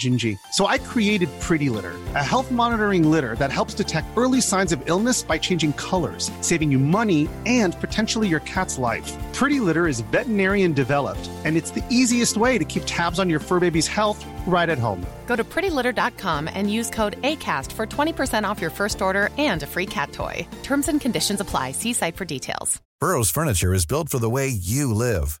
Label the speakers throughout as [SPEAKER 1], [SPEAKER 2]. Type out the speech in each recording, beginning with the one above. [SPEAKER 1] Gingy. So I created Pretty Litter, a health monitoring litter that helps detect early signs of illness by changing colors, saving you money and potentially your cat's life. Pretty Litter is veterinarian developed, and it's the easiest way to keep tabs on your fur baby's health right at home.
[SPEAKER 2] Go to prettylitter.com and use code ACAST for 20% off your first order and a free cat toy. Terms and conditions apply. See site for details.
[SPEAKER 3] Burrow's furniture is built for the way you live.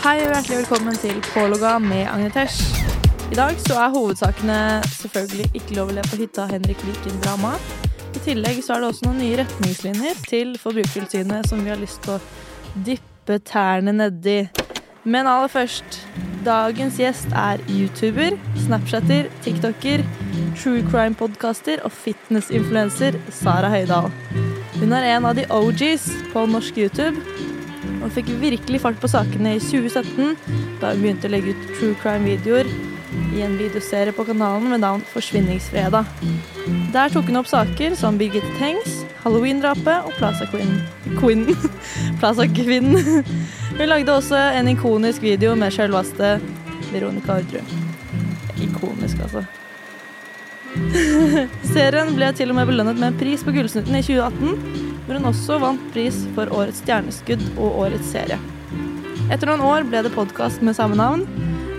[SPEAKER 4] Hei og hjertelig velkommen til Pålogga med Agnetesh. I dag så er hovedsakene selvfølgelig ikke lov å le på hytta Henrik Viken-drama. I tillegg så er det også noen nye retningslinjer til Forbrukertilsynet som vi har lyst til å dyppe tærne nedi. Men aller først, dagens gjest er YouTuber, Snapchatter, TikToker, true crime-podkaster og fitness-influencer Sara Høydahl. Hun er en av de OGs på norsk YouTube og fikk virkelig fart på sakene i 2017 da hun begynte å legge ut true crime-videoer i en videoserie på kanalen med navn Forsvinningsfredag. Der tok hun opp saker som Birgitte Tengs, Halloween-drapet og Plaza Queen. Queen. Plaza Quinn. Hun lagde også en ikonisk video med selveste Veronica Ordrud. Ikonisk, altså. Serien ble til og med belønnet med en pris på Gullsnutten i 2018, hvor hun også vant pris for Årets stjerneskudd og Årets serie. Etter noen år ble det podkast med samme navn,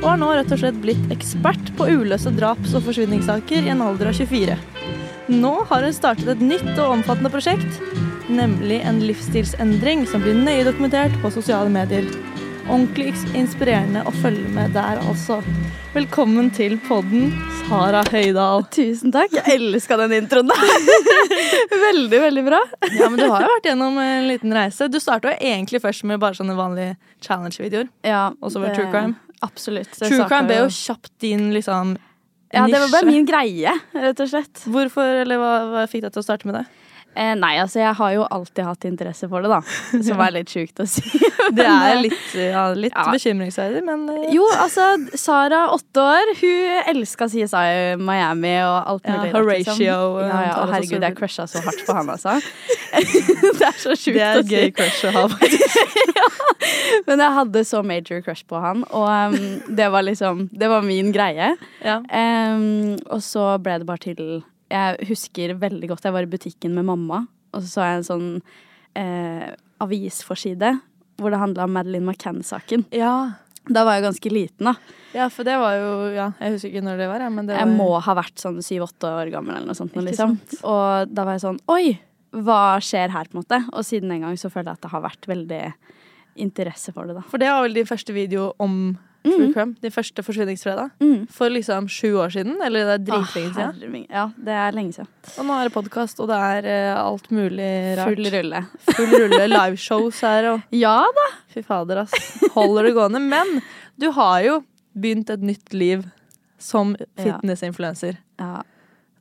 [SPEAKER 4] og har nå rett og slett blitt ekspert på uløse draps- og forsvinningssaker i en alder av 24. Nå har hun startet et nytt og omfattende prosjekt, nemlig en livsstilsendring som blir nøye dokumentert på sosiale medier. Ordentlig inspirerende å følge med der, altså. Velkommen til podden, Sara Høydahl.
[SPEAKER 5] Tusen takk. Jeg elska den introen der. Veldig, veldig bra.
[SPEAKER 4] Ja, men Du har jo vært gjennom en liten reise. Du starta jo egentlig først med bare sånne vanlige challenge-videoer.
[SPEAKER 5] Ja,
[SPEAKER 4] Og så var det true crime.
[SPEAKER 5] Absolutt. Det
[SPEAKER 4] True
[SPEAKER 5] startet
[SPEAKER 4] crime ble jo kjapt din liksom
[SPEAKER 5] Ja, det var bare
[SPEAKER 4] nisje.
[SPEAKER 5] min greie, rett og slett.
[SPEAKER 4] Hvorfor, eller hva, hva fikk deg til å starte med det?
[SPEAKER 5] Eh, nei, altså jeg har jo alltid hatt interesse for det, da. Som er litt sjukt å si.
[SPEAKER 4] Det er
[SPEAKER 5] Men, eh,
[SPEAKER 4] litt, ja, litt
[SPEAKER 5] Ja.
[SPEAKER 4] bekymringsverdig, men eh,
[SPEAKER 5] Jo, altså, Sara, åtte år, hun elska CSI Miami og alt
[SPEAKER 4] Ja,
[SPEAKER 5] mulig. rart,
[SPEAKER 4] Horatio,
[SPEAKER 5] Liksom. Ja, ja,
[SPEAKER 4] og
[SPEAKER 5] og herregud, jeg
[SPEAKER 4] Talos og
[SPEAKER 5] crusha så hardt på han, altså. det er så sjukt
[SPEAKER 4] det er
[SPEAKER 5] å
[SPEAKER 4] et
[SPEAKER 5] si.
[SPEAKER 4] gøy crush å ha. faktisk.
[SPEAKER 5] Men jeg hadde så major crush på han, og em, det var liksom Det var min greie.
[SPEAKER 4] Ja.
[SPEAKER 5] Em, og så ble det bare til Jeg husker veldig godt jeg var i butikken med mamma, og så så jeg en sånn eh, avisforside hvor det handla om Madeleine McCann-saken.
[SPEAKER 4] Ja.
[SPEAKER 5] Da var jeg ganske liten, da.
[SPEAKER 4] ja, for det var jo ja, Jeg husker ikke når det var, ja, men det var
[SPEAKER 5] Jeg må ha vært sånn syv-åtte år gammel eller noe sånt. nå,
[SPEAKER 4] Ikke
[SPEAKER 5] Liksom. Og da var jeg sånn Oi, hva skjer her, på en måte? Og siden den gang så føler jeg at det har vært veldig interesse for det, da.
[SPEAKER 4] For det var vel din første video om True Crime? Din første forsvinningsfredag? For liksom sju år siden? Eller det er dritlenge siden?
[SPEAKER 5] Herre min- Ja, det er lenge siden.
[SPEAKER 4] Og nå er det podkast, og det er eh, alt mulig rart.
[SPEAKER 5] Full rulle.
[SPEAKER 4] Full rulle liveshows her, og
[SPEAKER 5] Ja da!
[SPEAKER 4] fy fader, ass. Holder det gående. Men du har jo begynt et nytt liv som fitnessinfluenser.
[SPEAKER 5] Ja.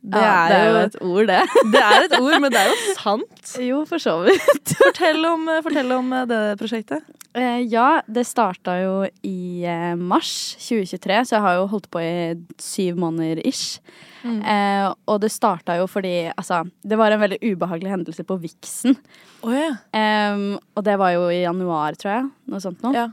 [SPEAKER 4] Det,
[SPEAKER 5] Ja, det er jo
[SPEAKER 4] et ord, det. Det er et ord, men det er jo sant.
[SPEAKER 5] Jo, for så vidt.
[SPEAKER 4] Fortell om, eh, fortell om eh, det prosjektet.
[SPEAKER 5] Eh, ja, det starta jo i eh, mars 2023, så jeg har jo holdt på i syv måneder ish.
[SPEAKER 4] Mm.
[SPEAKER 5] Eh, og det starta jo fordi altså, det var en veldig ubehagelig hendelse på Vixen.
[SPEAKER 4] Oh, ja.
[SPEAKER 5] Em, og det var jo i januar, tror jeg. Noe sånt nå.
[SPEAKER 4] Ja.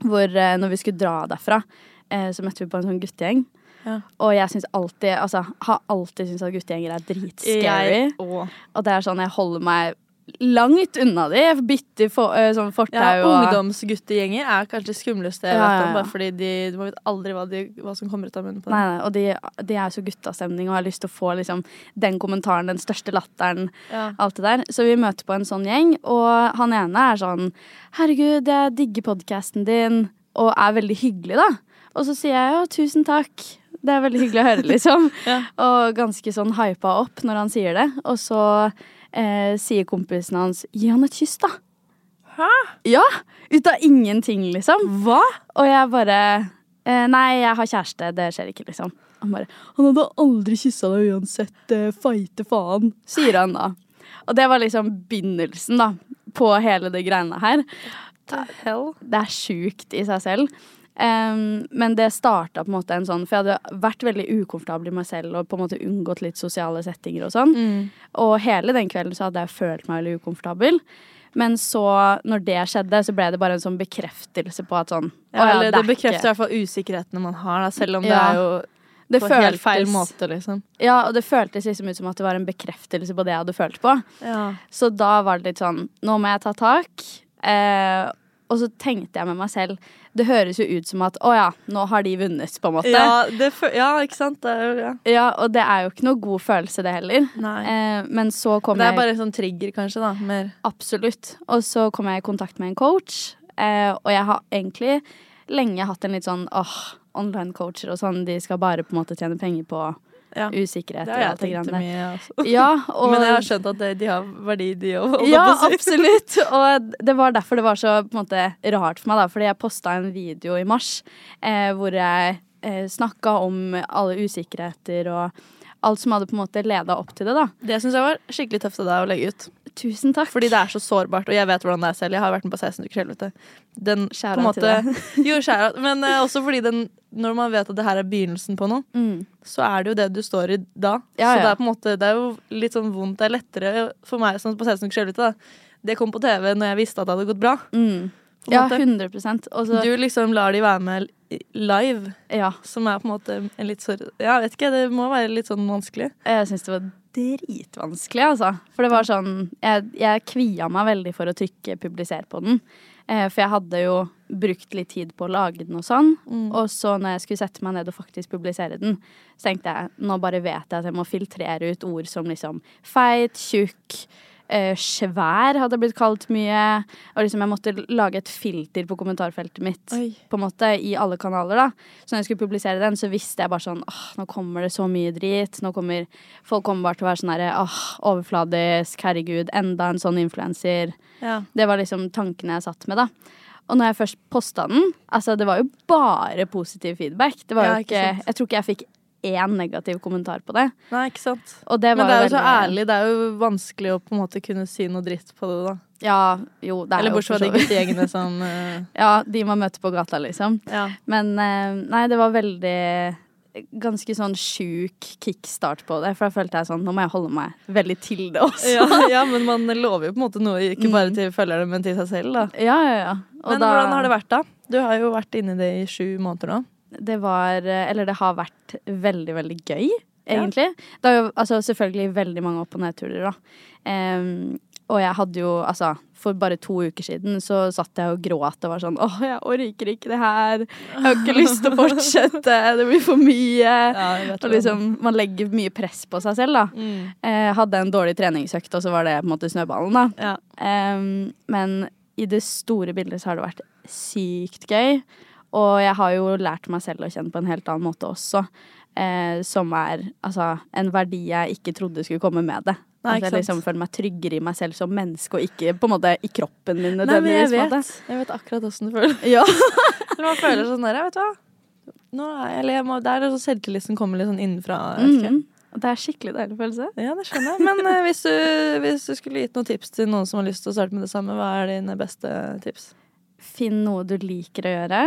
[SPEAKER 5] Hvor eh, når vi skulle dra derfra, eh, så møtte vi på en sånn guttegjeng.
[SPEAKER 4] Ja.
[SPEAKER 5] Og jeg syns alltid Altså, har alltid syntes at guttegjenger er dritscary.
[SPEAKER 4] Jeg òg.
[SPEAKER 5] Og det er sånn jeg holder meg langt unna de. Jeg bytter for, eh, sånn
[SPEAKER 4] Ja,
[SPEAKER 5] fortau og
[SPEAKER 4] ungdomsguttegjenger er kanskje det skumleste jeg
[SPEAKER 5] Ja,
[SPEAKER 4] vet
[SPEAKER 5] ja,
[SPEAKER 4] om.
[SPEAKER 5] ja.
[SPEAKER 4] Bare fordi de, du vet aldri hva, de, hva som kommer ut av munnen på
[SPEAKER 5] Nei,
[SPEAKER 4] dem.
[SPEAKER 5] nei, og de, de er jo så guttastemning og har lyst til å få liksom, den kommentaren, den største latteren,
[SPEAKER 4] Ja.
[SPEAKER 5] alt det der. Så vi møter på en sånn gjeng, og han ene er sånn Herregud, jeg digger podkasten din, og er veldig hyggelig, da. Og så sier jeg jo tusen takk. Det er veldig hyggelig å høre, liksom.
[SPEAKER 4] Ja.
[SPEAKER 5] Og ganske sånn hypa opp når han sier det. Og så eh, sier kompisen hans gi han et kyss, da. Hæ? Ja! Ut av ingenting, liksom.
[SPEAKER 4] Hva?
[SPEAKER 5] Og jeg bare eh, Nei, jeg har kjæreste, det skjer ikke, liksom. Han bare Han hadde aldri kyssa deg uansett, eh, feite faen, sier han da. Og det var liksom begynnelsen, da, på hele det greiene her. Det er sjukt i seg selv. Em, men det starta på en måte en sånn For jeg hadde vært veldig ukomfortabel i meg selv og på en måte unngått litt sosiale settinger og sånn.
[SPEAKER 4] Mm.
[SPEAKER 5] Og hele den kvelden så hadde jeg følt meg veldig ukomfortabel. Men så, når det skjedde, så ble det bare en sånn bekreftelse på at sånn
[SPEAKER 4] Ja,
[SPEAKER 5] «Å ja,
[SPEAKER 4] eller
[SPEAKER 5] det er
[SPEAKER 4] det bekrefter i
[SPEAKER 5] ikke-
[SPEAKER 4] hvert fall usikkerhetene man har, da, selv om det
[SPEAKER 5] Ja.
[SPEAKER 4] er jo
[SPEAKER 5] det
[SPEAKER 4] på helt feil
[SPEAKER 5] føltes-
[SPEAKER 4] måte, liksom.
[SPEAKER 5] Ja, og det føltes liksom ut som at det var en bekreftelse på det jeg hadde følt på. Så da var det litt sånn Nå må jeg ta tak. Eh, og så tenkte jeg med meg selv Det høres jo ut som at å ja, nå har de vunnet, på en måte.
[SPEAKER 4] Ja, det fø- ja, ikke sant? Det er, jo- ja.
[SPEAKER 5] Ja, og det er jo ikke noe god følelse, det heller.
[SPEAKER 4] Nei.
[SPEAKER 5] Eh, men så kom
[SPEAKER 4] Det er
[SPEAKER 5] jeg
[SPEAKER 4] bare sånn trigger, kanskje, da. Mer.
[SPEAKER 5] Absolutt. Og så kom jeg i kontakt med en coach, eh, og jeg har egentlig lenge hatt en litt sånn åh, online coacher og sånn, de skal bare på en måte tjene penger på
[SPEAKER 4] Ja.
[SPEAKER 5] usikkerhet
[SPEAKER 4] Det
[SPEAKER 5] og
[SPEAKER 4] har jeg
[SPEAKER 5] alt det
[SPEAKER 4] tenkt
[SPEAKER 5] greiene der.
[SPEAKER 4] mye, altså.
[SPEAKER 5] Ja, og
[SPEAKER 4] Men jeg har skjønt at det- de har verdi, de òg.
[SPEAKER 5] Ja, absolutt. Og det var derfor det var så på en måte, rart for meg, da. Fordi jeg posta en video i mars eh, hvor jeg eh, snakka om alle usikkerheter og alt som hadde på en måte leda opp til det, da.
[SPEAKER 4] Det syns jeg var skikkelig tøft av deg å legge ut.
[SPEAKER 5] Tusen takk.
[SPEAKER 4] Fordi det er så sårbart, og jeg vet hvordan det er selv. Jeg har vært med på 16 uker helvete. Den
[SPEAKER 5] Shout
[SPEAKER 4] på en
[SPEAKER 5] out til
[SPEAKER 4] måte Jo, shout out. Men eh, også fordi den Når man vet at det her er begynnelsen på noe, så er det jo det du står i da.
[SPEAKER 5] Ja,
[SPEAKER 4] så det
[SPEAKER 5] ja.
[SPEAKER 4] er på en måte Det er jo litt sånn vondt. Det er lettere for meg som på 16 uker helvete, da. Det kom på TV når jeg visste at det hadde gått bra. på en
[SPEAKER 5] Ja,
[SPEAKER 4] måte.
[SPEAKER 5] 100 Og så
[SPEAKER 4] Du liksom lar de være med li- live,
[SPEAKER 5] Ja.
[SPEAKER 4] som er på en måte en litt sår... Ja, jeg vet ikke, det må være litt sånn vanskelig.
[SPEAKER 5] Jeg syns det var dritvanskelig, altså. For det var sånn Jeg, jeg kvia meg veldig for å trykke 'publiser' på den. Eh, for jeg hadde jo brukt litt tid på å lage den og sånn. Og så når jeg skulle sette meg ned og faktisk publisere den, så tenkte jeg nå bare vet jeg at jeg må filtrere ut ord som liksom feit, tjukk, eh, svær hadde jeg blitt kalt mye. Og liksom jeg måtte lage et filter på kommentarfeltet mitt
[SPEAKER 4] Oi.
[SPEAKER 5] på en måte i alle kanaler. da Så når jeg skulle publisere den, så visste jeg bare sånn åh, nå kommer det så mye drit. Nå kommer Folk kommer bare til å være sånn herre åh, overfladisk, herregud, enda en sånn influenser.
[SPEAKER 4] Ja.
[SPEAKER 5] Det var liksom tankene jeg satt med, da. Og når jeg først posta den, altså det var jo bare positiv feedback. Det var
[SPEAKER 4] Ja,
[SPEAKER 5] jo
[SPEAKER 4] ikke
[SPEAKER 5] ikke,
[SPEAKER 4] sant.
[SPEAKER 5] Jeg tror ikke jeg fikk én negativ kommentar på det.
[SPEAKER 4] Nei, ikke sant.
[SPEAKER 5] Og det var
[SPEAKER 4] Men det er jo så
[SPEAKER 5] veldig-
[SPEAKER 4] ærlig. Det er jo vanskelig å på en måte kunne si noe dritt på det, da.
[SPEAKER 5] Ja, jo, det er
[SPEAKER 4] Eller
[SPEAKER 5] jo
[SPEAKER 4] bortsett
[SPEAKER 5] for
[SPEAKER 4] fra
[SPEAKER 5] så
[SPEAKER 4] de
[SPEAKER 5] vidt.
[SPEAKER 4] guttegjengene som eh,
[SPEAKER 5] Ja, de man møter på gata, liksom. Men eh, nei, det var veldig Ganske sånn sjuk kickstart på det, for da følte jeg sånn Nå må jeg holde meg veldig til det også.
[SPEAKER 4] ja, ja, men man lover jo på en måte noe ikke bare til følgerne, men til seg selv, da.
[SPEAKER 5] Ja, ja, ja. Og
[SPEAKER 4] Men
[SPEAKER 5] da-
[SPEAKER 4] hvordan har det vært, Mm. da? Du har jo vært inni det i sju måneder nå.
[SPEAKER 5] det var eh, Eller det har vært veldig, veldig gøy, egentlig. Det har jo altså, selvfølgelig veldig mange opp- og nedturer, da. Em, og jeg hadde jo, altså for bare to uker siden så satt jeg og gråt og var sånn Åh, jeg orker ikke det her. Jeg har ikke lyst til å fortsette. Det blir for mye.
[SPEAKER 4] jeg vet
[SPEAKER 5] og
[SPEAKER 4] hva du mener.
[SPEAKER 5] liksom, man legger mye press på seg selv, da.
[SPEAKER 4] Mm.
[SPEAKER 5] Eh, hadde en dårlig treningsøkt, og så var det på en måte snøballen, da.
[SPEAKER 4] Ja.
[SPEAKER 5] Em, men i det store bildet så har det vært sykt gøy. Og jeg har jo lært meg selv å kjenne på en helt annen måte også. Eh, som er altså, en verdi jeg ikke trodde skulle komme med det.
[SPEAKER 4] Nei,
[SPEAKER 5] At
[SPEAKER 4] ikke
[SPEAKER 5] jeg
[SPEAKER 4] sant.
[SPEAKER 5] liksom føler meg tryggere i meg selv som menneske, og ikke på en måte i kroppen min
[SPEAKER 4] Nei, men jeg
[SPEAKER 5] nødvendigvis. på en
[SPEAKER 4] vet.
[SPEAKER 5] måte.
[SPEAKER 4] Jeg vet akkurat åssen du føler.
[SPEAKER 5] Ja.
[SPEAKER 4] Eller man føler sånn der, vet du hva. Nå er jeg, eller jeg må, det er sånn selvtillit som kommer litt sånn innenfra. jeg vet ikke.
[SPEAKER 5] Mm. Og Det er skikkelig deilig følelse.
[SPEAKER 4] Ja, det skjønner jeg. Men eh, hvis, du, hvis du skulle gitt noen tips til noen som har lyst til å starte med det samme, hva er dine beste tips?
[SPEAKER 5] Finn noe du liker å gjøre,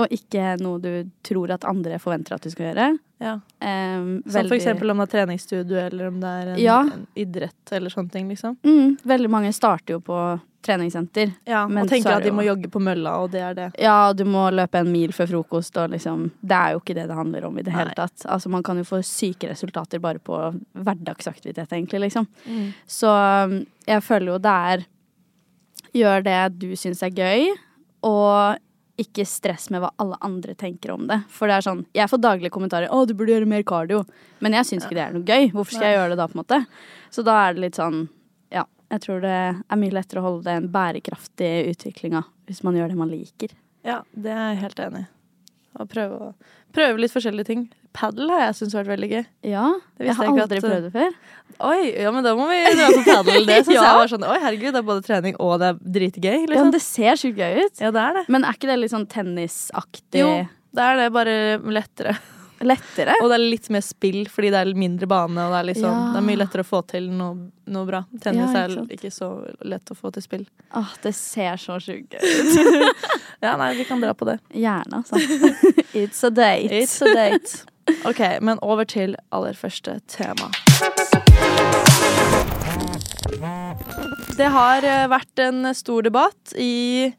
[SPEAKER 5] og ikke noe du tror at andre forventer at du skal gjøre.
[SPEAKER 4] Ja.
[SPEAKER 5] Um,
[SPEAKER 4] Som for eksempel om det er treningsstudio, eller om det er en,
[SPEAKER 5] Ja.
[SPEAKER 4] en idrett eller sånne ting, liksom.
[SPEAKER 5] mm, Veldig mange starter jo på treningssenter.
[SPEAKER 4] Ja,
[SPEAKER 5] Men
[SPEAKER 4] og
[SPEAKER 5] så
[SPEAKER 4] tenker
[SPEAKER 5] er
[SPEAKER 4] at de
[SPEAKER 5] det jo-
[SPEAKER 4] må jogge på mølla, og det er det.
[SPEAKER 5] Ja, du må løpe en mil før frokost, og liksom Det er jo ikke det det handler om i det hele
[SPEAKER 4] Nei.
[SPEAKER 5] tatt. Altså, man kan jo få syke resultater bare på hverdagsaktivitet, egentlig, liksom. Så um, jeg føler jo det er Gjør det du syns er gøy, og ikke stress med hva alle andre tenker om det. For det er sånn Jeg får daglige kommentarer 'Å, du burde gjøre mer kardio', men jeg syns ikke det er noe gøy. Hvorfor skal jeg gjøre det da, på en måte? Så da er det litt sånn Ja. Jeg tror det er mye lettere å holde det en bærekraftig utvikling av hvis man gjør det man liker.
[SPEAKER 4] Ja, det er jeg helt enig i. Å prøve, å, prøve litt forskjellige ting. Padel har jeg syntes vært veldig gøy.
[SPEAKER 5] Ja,
[SPEAKER 4] Det
[SPEAKER 5] jeg
[SPEAKER 4] visste
[SPEAKER 5] har
[SPEAKER 4] jeg ikke
[SPEAKER 5] aldri
[SPEAKER 4] at-
[SPEAKER 5] prøvd det før.
[SPEAKER 4] Oi, ja, men da må vi dra på padel. Det syns
[SPEAKER 5] Ja.
[SPEAKER 4] jeg var sånn Oi, herregud, det er både trening og det er dritgøy.
[SPEAKER 5] Ja, men
[SPEAKER 4] Liksom.
[SPEAKER 5] det ser sjukt gøy ut.
[SPEAKER 4] Ja, det er det.
[SPEAKER 5] Men er ikke det litt sånn tennisaktig?
[SPEAKER 4] Jo, det er det, bare lettere.
[SPEAKER 5] Lettere?
[SPEAKER 4] Og det er litt mer spill, fordi det er mindre bane, og det er, liksom,
[SPEAKER 5] Ja.
[SPEAKER 4] det er mye lettere å få til noe, noe bra. Tennis
[SPEAKER 5] Ja, ikke
[SPEAKER 4] er
[SPEAKER 5] sant.
[SPEAKER 4] ikke så lett å få til spill.
[SPEAKER 5] Åh, det ser så sjukt gøy ut.
[SPEAKER 4] Ja, nei, vi kan dra på det.
[SPEAKER 5] Gjerne, altså. It's a date.
[SPEAKER 4] It's a date. Ok, men over til aller første tema. Det har eh, vært en stor debatt i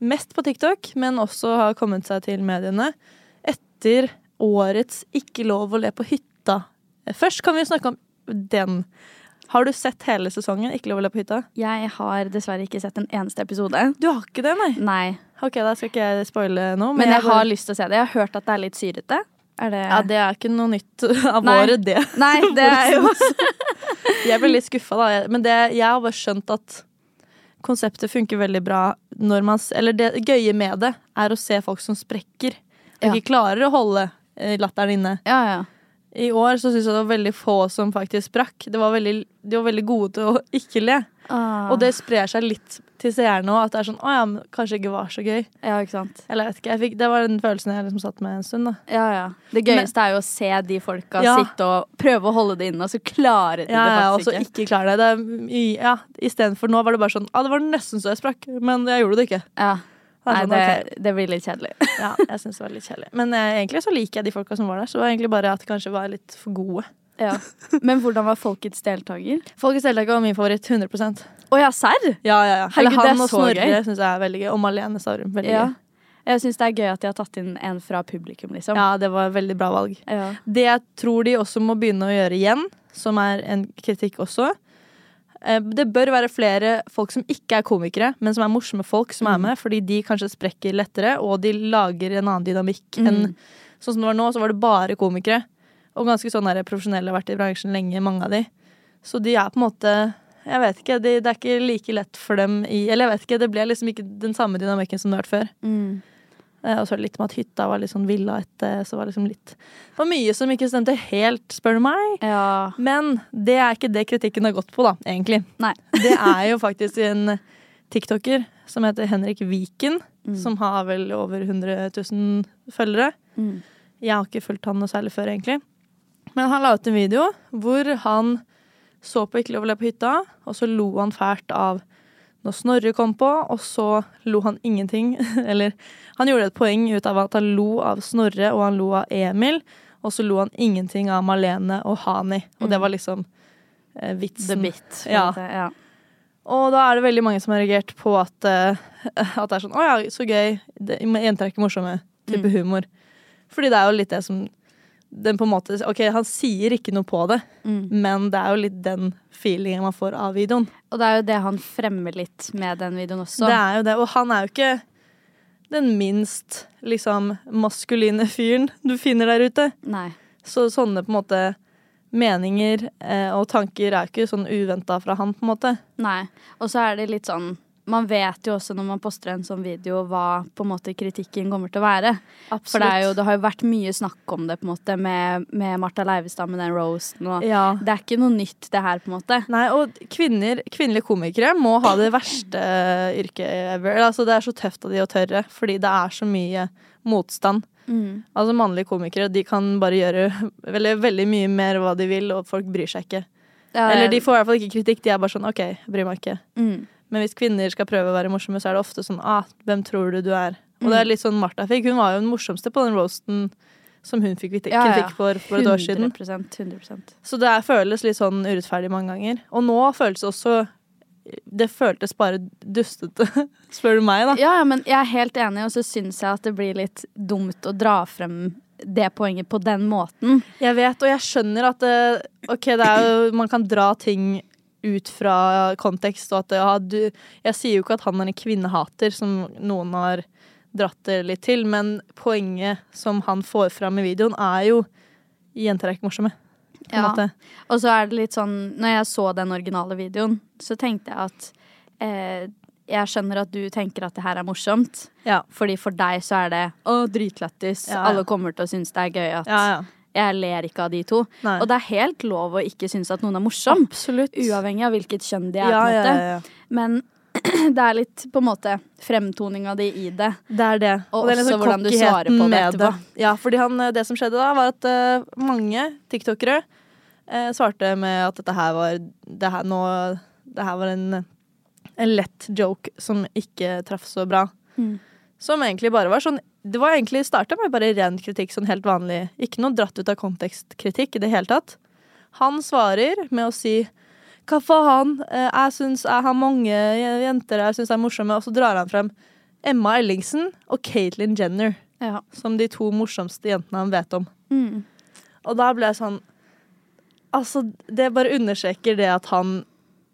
[SPEAKER 4] mest på TikTok, men også har kommet seg til mediene etter årets ikke lov å le på hytta. Eh, Først kan vi snakke om den. Har du sett hele sesongen Ikke lov å le på hytta?
[SPEAKER 5] Jeg har dessverre ikke sett en eneste episode.
[SPEAKER 4] Du har ikke det, nei?
[SPEAKER 5] Nei.
[SPEAKER 4] Ok, da skal ikke jeg spoile nå.
[SPEAKER 5] Men jeg har
[SPEAKER 4] bare-
[SPEAKER 5] lyst til å se det. Jeg har hørt at det er litt syrete. Er det
[SPEAKER 4] Ja, det er ikke noe nytt av
[SPEAKER 5] Nei.
[SPEAKER 4] året, det.
[SPEAKER 5] Nei, det er jo
[SPEAKER 4] Jeg ble litt skuffa, da. Jeg- Men det, jeg har bare skjønt at konseptet funker veldig bra når man s- Eller det gøye med det er å se folk som sprekker. Og
[SPEAKER 5] Ja.
[SPEAKER 4] ikke klarer å holde eh, latteren inne.
[SPEAKER 5] Ja, ja.
[SPEAKER 4] I år så syns jeg det var veldig få som faktisk sprakk. Det var veldig, de var veldig gode til å ikke le. Og det sprer seg litt til seerne òg, at det er sånn Å ja, men kanskje ikke var så gøy.
[SPEAKER 5] Ja, ikke sant.
[SPEAKER 4] Eller jeg vet ikke. Jeg fikk, det var den følelsen jeg liksom satt med en stund, da.
[SPEAKER 5] Ja, ja. Det gøyeste er jo å se de folka
[SPEAKER 4] Ja.
[SPEAKER 5] sitte og prøve å holde det inne, og så klarer de
[SPEAKER 4] Ja, ja, og
[SPEAKER 5] det
[SPEAKER 4] så
[SPEAKER 5] faktisk ikke.
[SPEAKER 4] ikke klare det. det er, mye- ja, Istedenfor nå var det bare sånn Ja, det var nesten så jeg sprakk, men jeg gjorde det ikke.
[SPEAKER 5] Ja.
[SPEAKER 4] Det
[SPEAKER 5] Nei,
[SPEAKER 4] er sånn,
[SPEAKER 5] det,
[SPEAKER 4] ok.
[SPEAKER 5] det blir litt kjedelig.
[SPEAKER 4] Ja, jeg synes det var litt kjedelig. Men eh, egentlig så liker jeg de folka som var der. Så det var egentlig bare at de kanskje var litt for gode.
[SPEAKER 5] Ja. Men hvordan var folkets deltaker?
[SPEAKER 4] Folkets deltaker var min favoritt. 100
[SPEAKER 5] Å ja, serr?
[SPEAKER 4] Ja, ja, ja.
[SPEAKER 5] Herregud,
[SPEAKER 4] Eller
[SPEAKER 5] det
[SPEAKER 4] han
[SPEAKER 5] er
[SPEAKER 4] og
[SPEAKER 5] så
[SPEAKER 4] Snorre
[SPEAKER 5] gøy.
[SPEAKER 4] syns jeg er veldig gøy. Og Malene Stavrum. Veldig
[SPEAKER 5] Ja.
[SPEAKER 4] gøy.
[SPEAKER 5] Jeg syns det er gøy at de har tatt inn en fra publikum, liksom.
[SPEAKER 4] Ja, det var et veldig bra valg.
[SPEAKER 5] Ja.
[SPEAKER 4] Det jeg tror de også må begynne å gjøre igjen, som er en kritikk også eh, Det bør være flere folk som ikke er komikere, men som er morsomme folk som er med, fordi de kanskje sprekker lettere, og de lager en annen dynamikk enn Sånn som det var nå, så var det bare komikere. Og ganske sånn der profesjonelle har vært i bransjen lenge, mange av de. Så de er på en måte Jeg vet ikke, de, det er ikke like lett for dem i Eller jeg vet ikke, det ble liksom ikke den samme dynamikken som det har vært før. Eh, Og så er det litt med at hytta var litt sånn villa etter, så var det liksom litt Det var mye som ikke stemte helt, spør du meg.
[SPEAKER 5] Ja.
[SPEAKER 4] Men det er ikke det kritikken har gått på, da, egentlig.
[SPEAKER 5] Nei.
[SPEAKER 4] Det er jo faktisk en tiktoker som heter Henrik Viken,
[SPEAKER 5] Mm.
[SPEAKER 4] som har vel over 100 000 følgere.
[SPEAKER 5] Mm.
[SPEAKER 4] Jeg har ikke fulgt han noe særlig før, egentlig. Men han la ut en video hvor han så på Ikke lov å le på hytta, og så lo han fælt av når Snorre kom på, og så lo han ingenting. Eller han gjorde et poeng ut av at han lo av Snorre, og han lo av Emil. Og så lo han ingenting av Malene og Hani. Og det var liksom eh, vitsen.
[SPEAKER 5] Mm. The bit. på en
[SPEAKER 4] Ja.
[SPEAKER 5] måte. ja.
[SPEAKER 4] Og da er det veldig mange som har reagert på at, eh, at det er sånn Å ja, så gøy. Det, jenter er ikke morsomme. Type humor. Fordi det er jo litt det som den på en måte, Ok, han sier ikke noe på det, men det er jo litt den feelingen man får av videoen.
[SPEAKER 5] Og det er jo det han fremmer litt med den videoen også.
[SPEAKER 4] Det er jo det, Og han er jo ikke den minst liksom maskuline fyren du finner der ute.
[SPEAKER 5] Nei.
[SPEAKER 4] Så sånne på en måte meninger eh, og tanker er jo ikke sånn uventa fra han, på en måte.
[SPEAKER 5] Nei. Og så er det litt sånn man vet jo også når man poster en sånn video hva på en måte kritikken kommer til å være. For det, er jo, det har jo vært mye snakk om det på en måte med, med Martha Leivestad med den roasten. Og
[SPEAKER 4] Ja.
[SPEAKER 5] Det er ikke noe nytt det her, på en måte.
[SPEAKER 4] Nei, og kvinner, kvinnelige komikere må ha det verste yrket ever. Eller, Altså, det er så tøft av de å tørre, fordi det er så mye motstand.
[SPEAKER 5] Mm.
[SPEAKER 4] Altså Mannlige komikere de kan bare gjøre veldig, veldig mye mer hva de vil, og folk bryr seg ikke.
[SPEAKER 5] Ja,
[SPEAKER 4] Eller
[SPEAKER 5] jeg-
[SPEAKER 4] de får i hvert fall ikke kritikk. De er bare sånn OK, jeg bryr meg ikke.
[SPEAKER 5] Mm.
[SPEAKER 4] Men hvis kvinner skal prøve å være morsomme, så er det
[SPEAKER 5] Mm.
[SPEAKER 4] ofte sånn ah, hvem tror du du er? Og det er litt sånn Martha fikk. Hun var jo den morsomste på den roasten som hun fikk vite,
[SPEAKER 5] Ja, ja.
[SPEAKER 4] kritikk for for et år siden.
[SPEAKER 5] 100%, 100%.
[SPEAKER 4] Så det er, føles litt sånn urettferdig mange ganger. Og nå føles det også Det føltes bare dustete, spør du meg, da.
[SPEAKER 5] Ja, ja, men jeg er helt enig, og så syns jeg at det blir litt dumt å dra frem det poenget på den måten.
[SPEAKER 4] Jeg vet, og jeg skjønner at det, ok, det er jo, man kan dra ting ut fra kontekst. Og at det, ja, du, jeg sier jo ikke at han er en kvinnehater, som noen har dratt det litt til. Men poenget som han får fram i videoen, er jo jenter er ikke morsomme. På en
[SPEAKER 5] Ja.
[SPEAKER 4] måte.
[SPEAKER 5] Og så er det litt sånn Når jeg så den originale videoen, så tenkte jeg at eh, Jeg skjønner at du tenker at det her er morsomt,
[SPEAKER 4] Ja.
[SPEAKER 5] fordi for deg så er det å, dritlættis.
[SPEAKER 4] Ja, ja.
[SPEAKER 5] Alle kommer til å synes det er gøy at
[SPEAKER 4] Ja, ja.
[SPEAKER 5] Jeg ler ikke av de to.
[SPEAKER 4] Nei.
[SPEAKER 5] Og det er helt lov å ikke synes at noen er morsom.
[SPEAKER 4] Absolutt.
[SPEAKER 5] Uavhengig av hvilket kjønn de er.
[SPEAKER 4] Ja,
[SPEAKER 5] på en
[SPEAKER 4] ja,
[SPEAKER 5] måte.
[SPEAKER 4] ja, ja.
[SPEAKER 5] Men det er litt på en måte fremtoninga di i det.
[SPEAKER 4] Det er det.
[SPEAKER 5] Og
[SPEAKER 4] det er litt
[SPEAKER 5] også
[SPEAKER 4] sånn
[SPEAKER 5] hvordan du svarer på det
[SPEAKER 4] kokkheten med
[SPEAKER 5] etterpå.
[SPEAKER 4] Ja, fordi han, eh, det som skjedde da, var at eh, mange tiktokere eh, svarte med at dette her var Det her, nå, det her var en, en lett joke som ikke traff så bra.
[SPEAKER 5] Mm.
[SPEAKER 4] Som egentlig bare var sånn Det var egentlig starta med bare ren kritikk, sånn helt vanlig. Ikke noe dratt ut av kontekstkritikk i det hele tatt. Han svarer med å si hva faen? Eh, Jeg syns jeg har mange je- jenter jeg syns er morsomme. Og så drar han frem Emma Ellingsen og Caitlyn Jenner
[SPEAKER 5] Ja.
[SPEAKER 4] som de to morsomste jentene han vet om. Og da ble jeg sånn Altså, det bare understreker det at han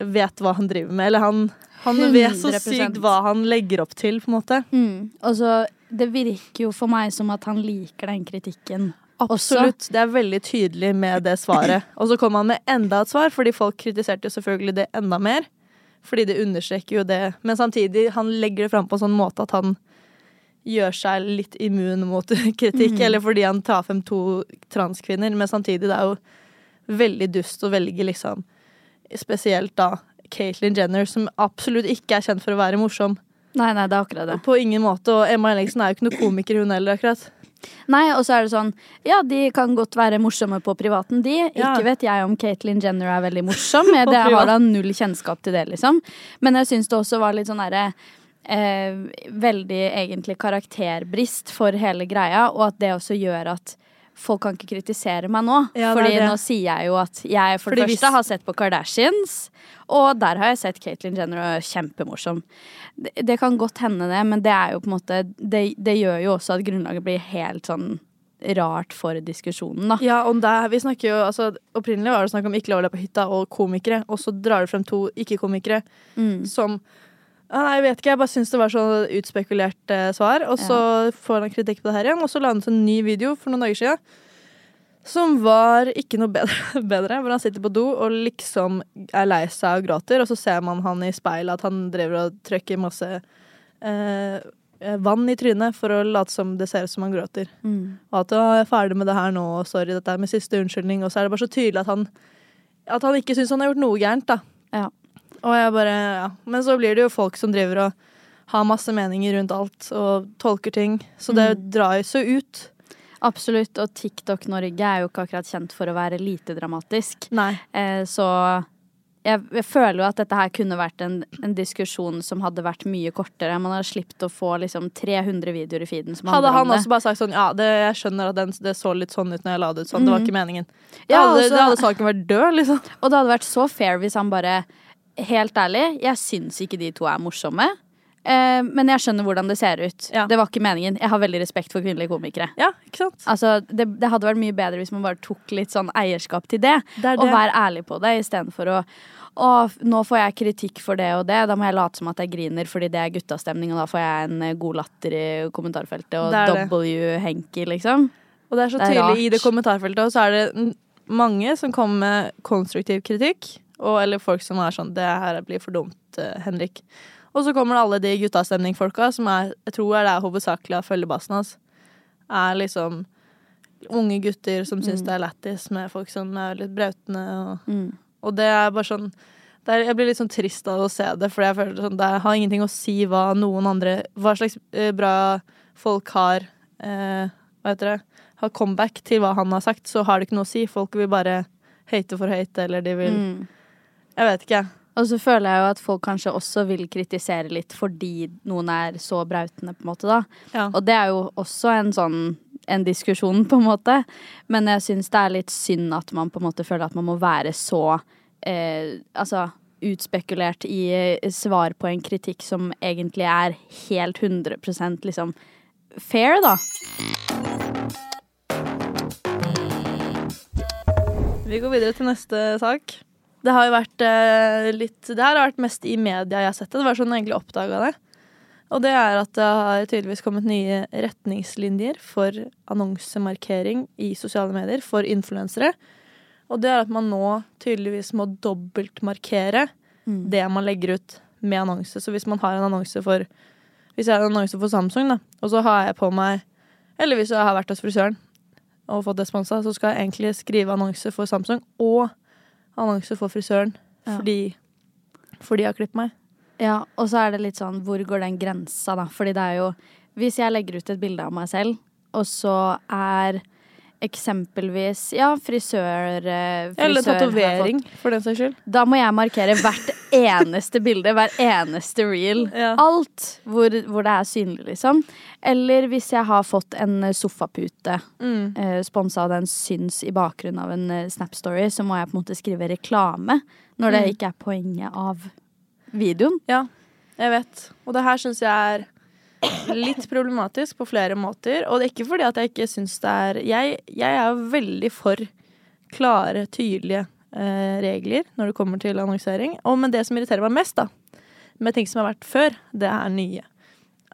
[SPEAKER 4] vet hva han driver med. Eller han, han vet så
[SPEAKER 5] 100%.
[SPEAKER 4] sykt hva han legger opp til, på en måte.
[SPEAKER 5] Og så Det virker jo for meg som at han liker den kritikken.
[SPEAKER 4] Absolutt. Det er veldig tydelig med det svaret. Og så kom han med enda et svar, fordi folk kritiserte jo selvfølgelig det enda mer. Fordi det understreker jo det. Men samtidig, han legger det fram på en sånn måte at han gjør seg litt immun mot kritikk. Eller fordi han tar frem to transkvinner. Men samtidig, det er jo veldig dust å velge liksom Spesielt da Caitlyn Jenner, som absolutt ikke er kjent for å være morsom.
[SPEAKER 5] Nei, nei, det er akkurat det.
[SPEAKER 4] På ingen måte. Og Emma Ellingsen er jo ikke noe komiker, hun heller, akkurat.
[SPEAKER 5] Nei, og så er det sånn Ja, de kan godt være morsomme på privaten, de.
[SPEAKER 4] Ja.
[SPEAKER 5] Ikke vet jeg om Caitlyn Jenner er veldig morsom. Jeg, det
[SPEAKER 4] privat.
[SPEAKER 5] har da null kjennskap til det, liksom. Men jeg syns det også var litt sånn derre eh, Veldig egentlig karakterbrist for hele greia, og at det også gjør at Folk kan ikke kritisere meg nå,
[SPEAKER 4] Ja, det er
[SPEAKER 5] Fordi
[SPEAKER 4] det.
[SPEAKER 5] nå sier jeg jo at jeg for det
[SPEAKER 4] Fordi hvis-
[SPEAKER 5] første har sett på Kardashians, og der har jeg sett Caitlyn Jenner, og er kjempemorsom. Det, det kan godt hende det, men det er jo på en måte det, det gjør jo også at grunnlaget blir helt sånn rart for diskusjonen, da.
[SPEAKER 4] Ja, om det, vi snakker jo, altså, Opprinnelig var det snakk om ikke lov å le på hytta og komikere, og så drar du frem to ikke-komikere som «Ah, Nei, jeg vet ikke, jeg bare syns det var så utspekulert eh, svar. Og så får han kritikk på det her igjen, og så landet en ny video for noen dager siden. Som var ikke noe bedre, bedre, hvor han sitter på do og liksom er lei seg og gråter, og så ser man han i speilet at han driver og trykker masse eh, vann i trynet for å late som det ser ut som han gråter. Og at «Å, 'jeg er ferdig med det her nå, og sorry, dette er min siste unnskyldning'. Og så er det bare så tydelig at han, at han ikke syns han har gjort noe gærent, da.
[SPEAKER 5] Ja.
[SPEAKER 4] Og jeg bare, ja. Men så blir det jo folk som driver og har masse meninger rundt alt, og tolker ting. Så det drar jo så ut.
[SPEAKER 5] Absolutt. Og TikTok-Norge er jo ikke akkurat kjent for å være lite dramatisk.
[SPEAKER 4] Nei.
[SPEAKER 5] Eh, så jeg, jeg føler jo at dette her kunne vært en, en diskusjon som hadde vært mye kortere. Man hadde sluppet å få liksom 300 videoer i feeden som
[SPEAKER 4] Hadde
[SPEAKER 5] handler
[SPEAKER 4] han
[SPEAKER 5] om det.
[SPEAKER 4] også bare sagt sånn Ja, det, jeg skjønner at den, det så litt sånn ut når jeg la det ut sånn. Det var ikke meningen. Da,
[SPEAKER 5] Ja,
[SPEAKER 4] hadde,
[SPEAKER 5] og så-
[SPEAKER 4] da hadde saken vært død, liksom.
[SPEAKER 5] Og det hadde vært så fair hvis han bare Helt ærlig, jeg syns ikke de to er morsomme. Eh, men jeg skjønner hvordan det ser ut.
[SPEAKER 4] Ja.
[SPEAKER 5] Det var ikke meningen. Jeg har veldig respekt for kvinnelige komikere.
[SPEAKER 4] Ja, ikke sant?
[SPEAKER 5] Altså, det, det hadde vært mye bedre hvis man bare tok litt sånn eierskap til det.
[SPEAKER 4] Det er
[SPEAKER 5] Og
[SPEAKER 4] det.
[SPEAKER 5] være ærlig på det istedenfor å å, f- nå får jeg kritikk for det og det. Da må jeg late som at jeg griner fordi det er guttastemning, og da får jeg en eh, god latter i kommentarfeltet og
[SPEAKER 4] Det er det.
[SPEAKER 5] W-Henki, liksom.
[SPEAKER 4] Og det er så
[SPEAKER 5] Det er
[SPEAKER 4] tydelig i
[SPEAKER 5] rart.
[SPEAKER 4] det kommentarfeltet, og så er det n- mange som kommer med konstruktiv kritikk, og, eller folk som er sånn 'det her blir for dumt, eh, Henrik'. Og så kommer det alle de guttastemningfolka, som er, jeg tror er det er hovedsakelig av følgebasen hans. Er liksom unge gutter som
[SPEAKER 5] Mm.
[SPEAKER 4] syns det er lættis med folk som er litt brautende. Og, og det er bare sånn det er, Jeg blir litt sånn trist av å se det, for jeg føler sånn, det har ingenting å si hva noen andre Hva slags eh, bra folk har eh, Hva heter det? Har comeback til hva han har sagt, så har det ikke noe å si. Folk vil bare hate for hate, eller de vil Jeg vet ikke.
[SPEAKER 5] Og så føler jeg jo at folk kanskje også vil kritisere litt fordi noen er så brautende, på en måte, da.
[SPEAKER 4] Ja.
[SPEAKER 5] Og det er jo også en sånn en diskusjon, på en måte. Men jeg syns det er litt synd at man på en måte føler at man må være så eh, altså, utspekulert i eh, svar på en kritikk som egentlig er helt 100 liksom fair, da.
[SPEAKER 4] Vi går videre til neste sak. Det har jo vært eh, litt Det her har vært mest i media jeg har sett det. Det var sånn jeg egentlig oppdaga det. Og det er at det har tydeligvis kommet nye retningslinjer for annonsemarkering i sosiale medier for influensere. Og det er at man nå tydeligvis må dobbeltmarkere det man legger ut med annonse. Så hvis man har en annonse for Hvis jeg har en annonse for Samsung, da, og så har jeg på meg Eller hvis jeg har vært hos frisøren, og fått det sponsa, så skal jeg egentlig skrive annonse for Samsung og annonse for frisøren
[SPEAKER 5] Ja.
[SPEAKER 4] fordi, fordi jeg har klippet meg.
[SPEAKER 5] Ja, og så er det litt sånn, hvor går den grensa da? Fordi det er jo, hvis jeg legger ut et bilde av meg selv, og så er eksempelvis, ja, frisør... eh, frisør
[SPEAKER 4] Eller
[SPEAKER 5] har
[SPEAKER 4] tatovering,
[SPEAKER 5] fått-
[SPEAKER 4] for den saks skyld.
[SPEAKER 5] Da må jeg markere hvert eneste bilde, hver eneste reel.
[SPEAKER 4] Ja.
[SPEAKER 5] Alt hvor, hvor det er synlig, liksom. Eller hvis jeg har fått en eh, sofapute
[SPEAKER 4] Mm.
[SPEAKER 5] eh, sponsa av den syns i bakgrunnen av en eh, Snap Story, så må jeg på en måte skrive reklame når
[SPEAKER 4] Mm.
[SPEAKER 5] det ikke er poenget av videoen.
[SPEAKER 4] Ja, jeg vet. Og det her syns jeg er litt problematisk på flere måter. Og det er ikke fordi at jeg ikke syns det er Jeg, jeg er jo veldig for klare, tydelige eh, regler når det kommer til annonsering. Og, men det som irriterer meg mest da, med ting som har vært før, det er nye.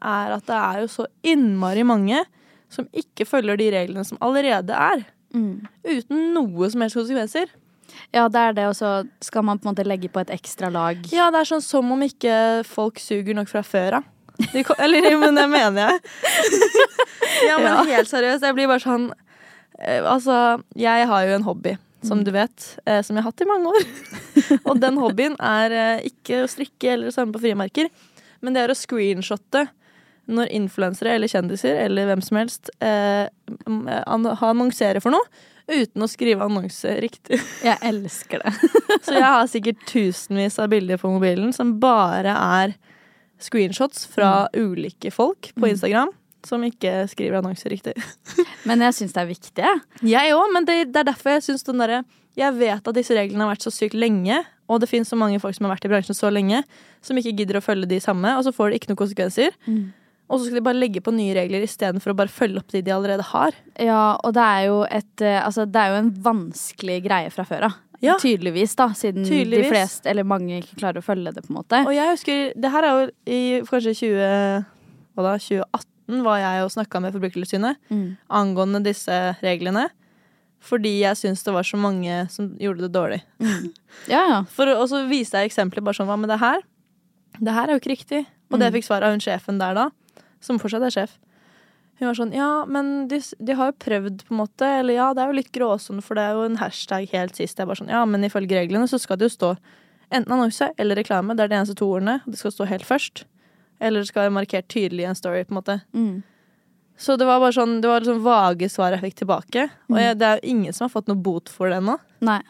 [SPEAKER 4] Er at det er jo så innmari mange som ikke følger de reglene som allerede er. Uten noe som helst konsekvenser.
[SPEAKER 5] Ja, det er det, og så skal man på en måte legge på et ekstra lag.
[SPEAKER 4] Ja, det er sånn som om ikke folk suger nok fra før av. De ko- Eller, men det mener jeg. Ja, men helt seriøst. Jeg blir bare sånn eh, Altså, jeg har jo en hobby, som du vet, eh, som jeg har hatt i mange år. Og den hobbyen er eh, ikke å strikke eller å samle på frimerker, men det er å screenshotte når influensere eller kjendiser eller hvem som helst eh, m- an- annonserer for noe uten å skrive annonse riktig.
[SPEAKER 5] Jeg elsker det.
[SPEAKER 4] Så jeg har sikkert tusenvis av bilder på mobilen som bare er screenshots fra ulike folk på Instagram som ikke skriver annonser riktig.
[SPEAKER 5] Men jeg syns det er viktig. jeg.
[SPEAKER 4] Jeg òg, men det, det er derfor jeg syns den derre Jeg vet at disse reglene har vært så sykt lenge, og det finnes så mange folk som har vært i bransjen så lenge, som ikke gidder å følge de samme, og så får det ikke noen konsekvenser. Og så skal de bare legge på nye regler istedenfor å bare følge opp de de allerede har.
[SPEAKER 5] Ja, og det er jo et eh, Altså, det er jo en vanskelig greie fra før av.
[SPEAKER 4] Ja.
[SPEAKER 5] Tydeligvis, da, siden
[SPEAKER 4] Tydeligvis.
[SPEAKER 5] de fleste, eller mange, ikke klarer å følge det, på en måte.
[SPEAKER 4] Og jeg husker, det her er jo i kanskje 20, hva da, 2018 var jeg og snakka med Forbrukertilsynet angående disse reglene. Fordi jeg syns det var så mange som gjorde det dårlig.
[SPEAKER 5] Ja, ja.
[SPEAKER 4] For, og så viste jeg eksempler bare sånn, hva med det her? Det her er jo ikke riktig. Og det fikk svar av hun sjefen der da, som fortsatt er sjef. Hun var sånn, ja, men de, s- de har jo prøvd på en måte, eller ja, det er jo litt gråsånn, for det er jo en hashtag helt sist. Jeg er bare sånn, ja, men ifølge reglene så skal det jo stå enten annonse eller reklame, det er de eneste to ordene, og det skal stå helt først. Eller det skal være markert tydelig i en story, på en måte. Så det var bare sånn, det var liksom vage svar jeg fikk tilbake. Og jeg, det er jo ingen som har fått noe bot for det ennå.
[SPEAKER 5] Nei.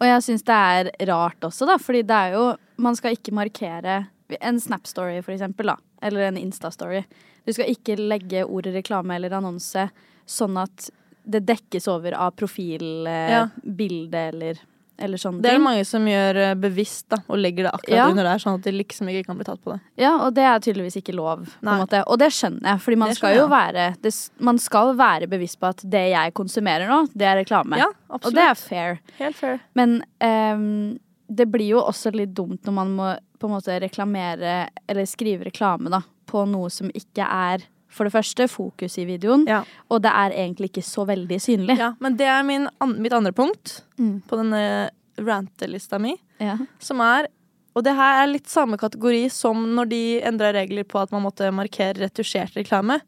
[SPEAKER 5] Og jeg syns det er rart også, da, fordi det er jo Man skal ikke markere en Snap-story, for eksempel, da. Eller en Insta-story. Du skal ikke legge ordet reklame eller annonse sånn at det dekkes over av profilbilde
[SPEAKER 4] Ja.
[SPEAKER 5] eller, eller sånne
[SPEAKER 4] Det er det
[SPEAKER 5] ting.
[SPEAKER 4] mange som gjør eh, bevisst da, og legger det akkurat
[SPEAKER 5] Ja.
[SPEAKER 4] under der, sånn at de liksom ikke kan bli tatt på det.
[SPEAKER 5] Ja, og det er tydeligvis ikke lov. På
[SPEAKER 4] Nei.
[SPEAKER 5] en måte. Og det skjønner jeg, fordi man
[SPEAKER 4] Det
[SPEAKER 5] skal jo være det, s- Man skal være bevisst på at det jeg konsumerer nå, det er reklame.
[SPEAKER 4] Ja,
[SPEAKER 5] og
[SPEAKER 4] absolutt.
[SPEAKER 5] det er fair.
[SPEAKER 4] Helt fair.
[SPEAKER 5] Men ehm, det blir jo også litt dumt når man må på en måte reklamere eller skrive reklame da, på noe som ikke er for det første fokus i videoen,
[SPEAKER 4] Ja.
[SPEAKER 5] og det er egentlig ikke så veldig synlig.
[SPEAKER 4] Ja, men det er min, an mitt andre punkt på denne rantelista mi,
[SPEAKER 5] Ja.
[SPEAKER 4] som er Og det her er litt samme kategori som når de endra regler på at man måtte markere retusjert reklame.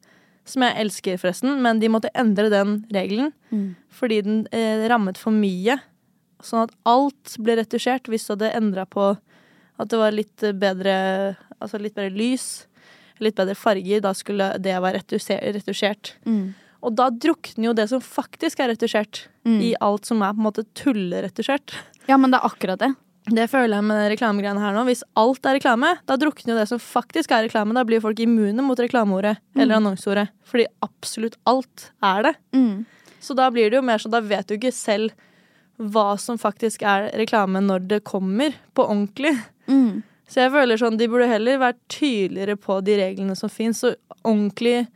[SPEAKER 4] Som jeg elsker, forresten, men de måtte endre den regelen fordi den eh, rammet for mye. Sånn at alt ble retusjert hvis du hadde endra på at det var litt bedre, altså litt bedre lys, litt bedre farger, da skulle det være retusje- retusjert.
[SPEAKER 5] Mm.
[SPEAKER 4] Og da drukner jo det som faktisk er retusjert, i alt som er på en måte tulleretusjert.
[SPEAKER 5] ja, men det er akkurat det.
[SPEAKER 4] Det føler jeg med den reklamegreiene her nå. Hvis alt er reklame, da drukner jo det som faktisk er reklame. Da blir folk immune mot reklameordet eller annonseordet. Fordi absolutt alt er det.
[SPEAKER 5] Mm.
[SPEAKER 4] Så da blir det jo mer sånn, da vet du ikke selv hva som faktisk er reklame når det kommer på ordentlig.
[SPEAKER 5] Mm.
[SPEAKER 4] Så jeg føler sånn, de burde heller vært tydeligere på de reglene som finnes, og ordentlig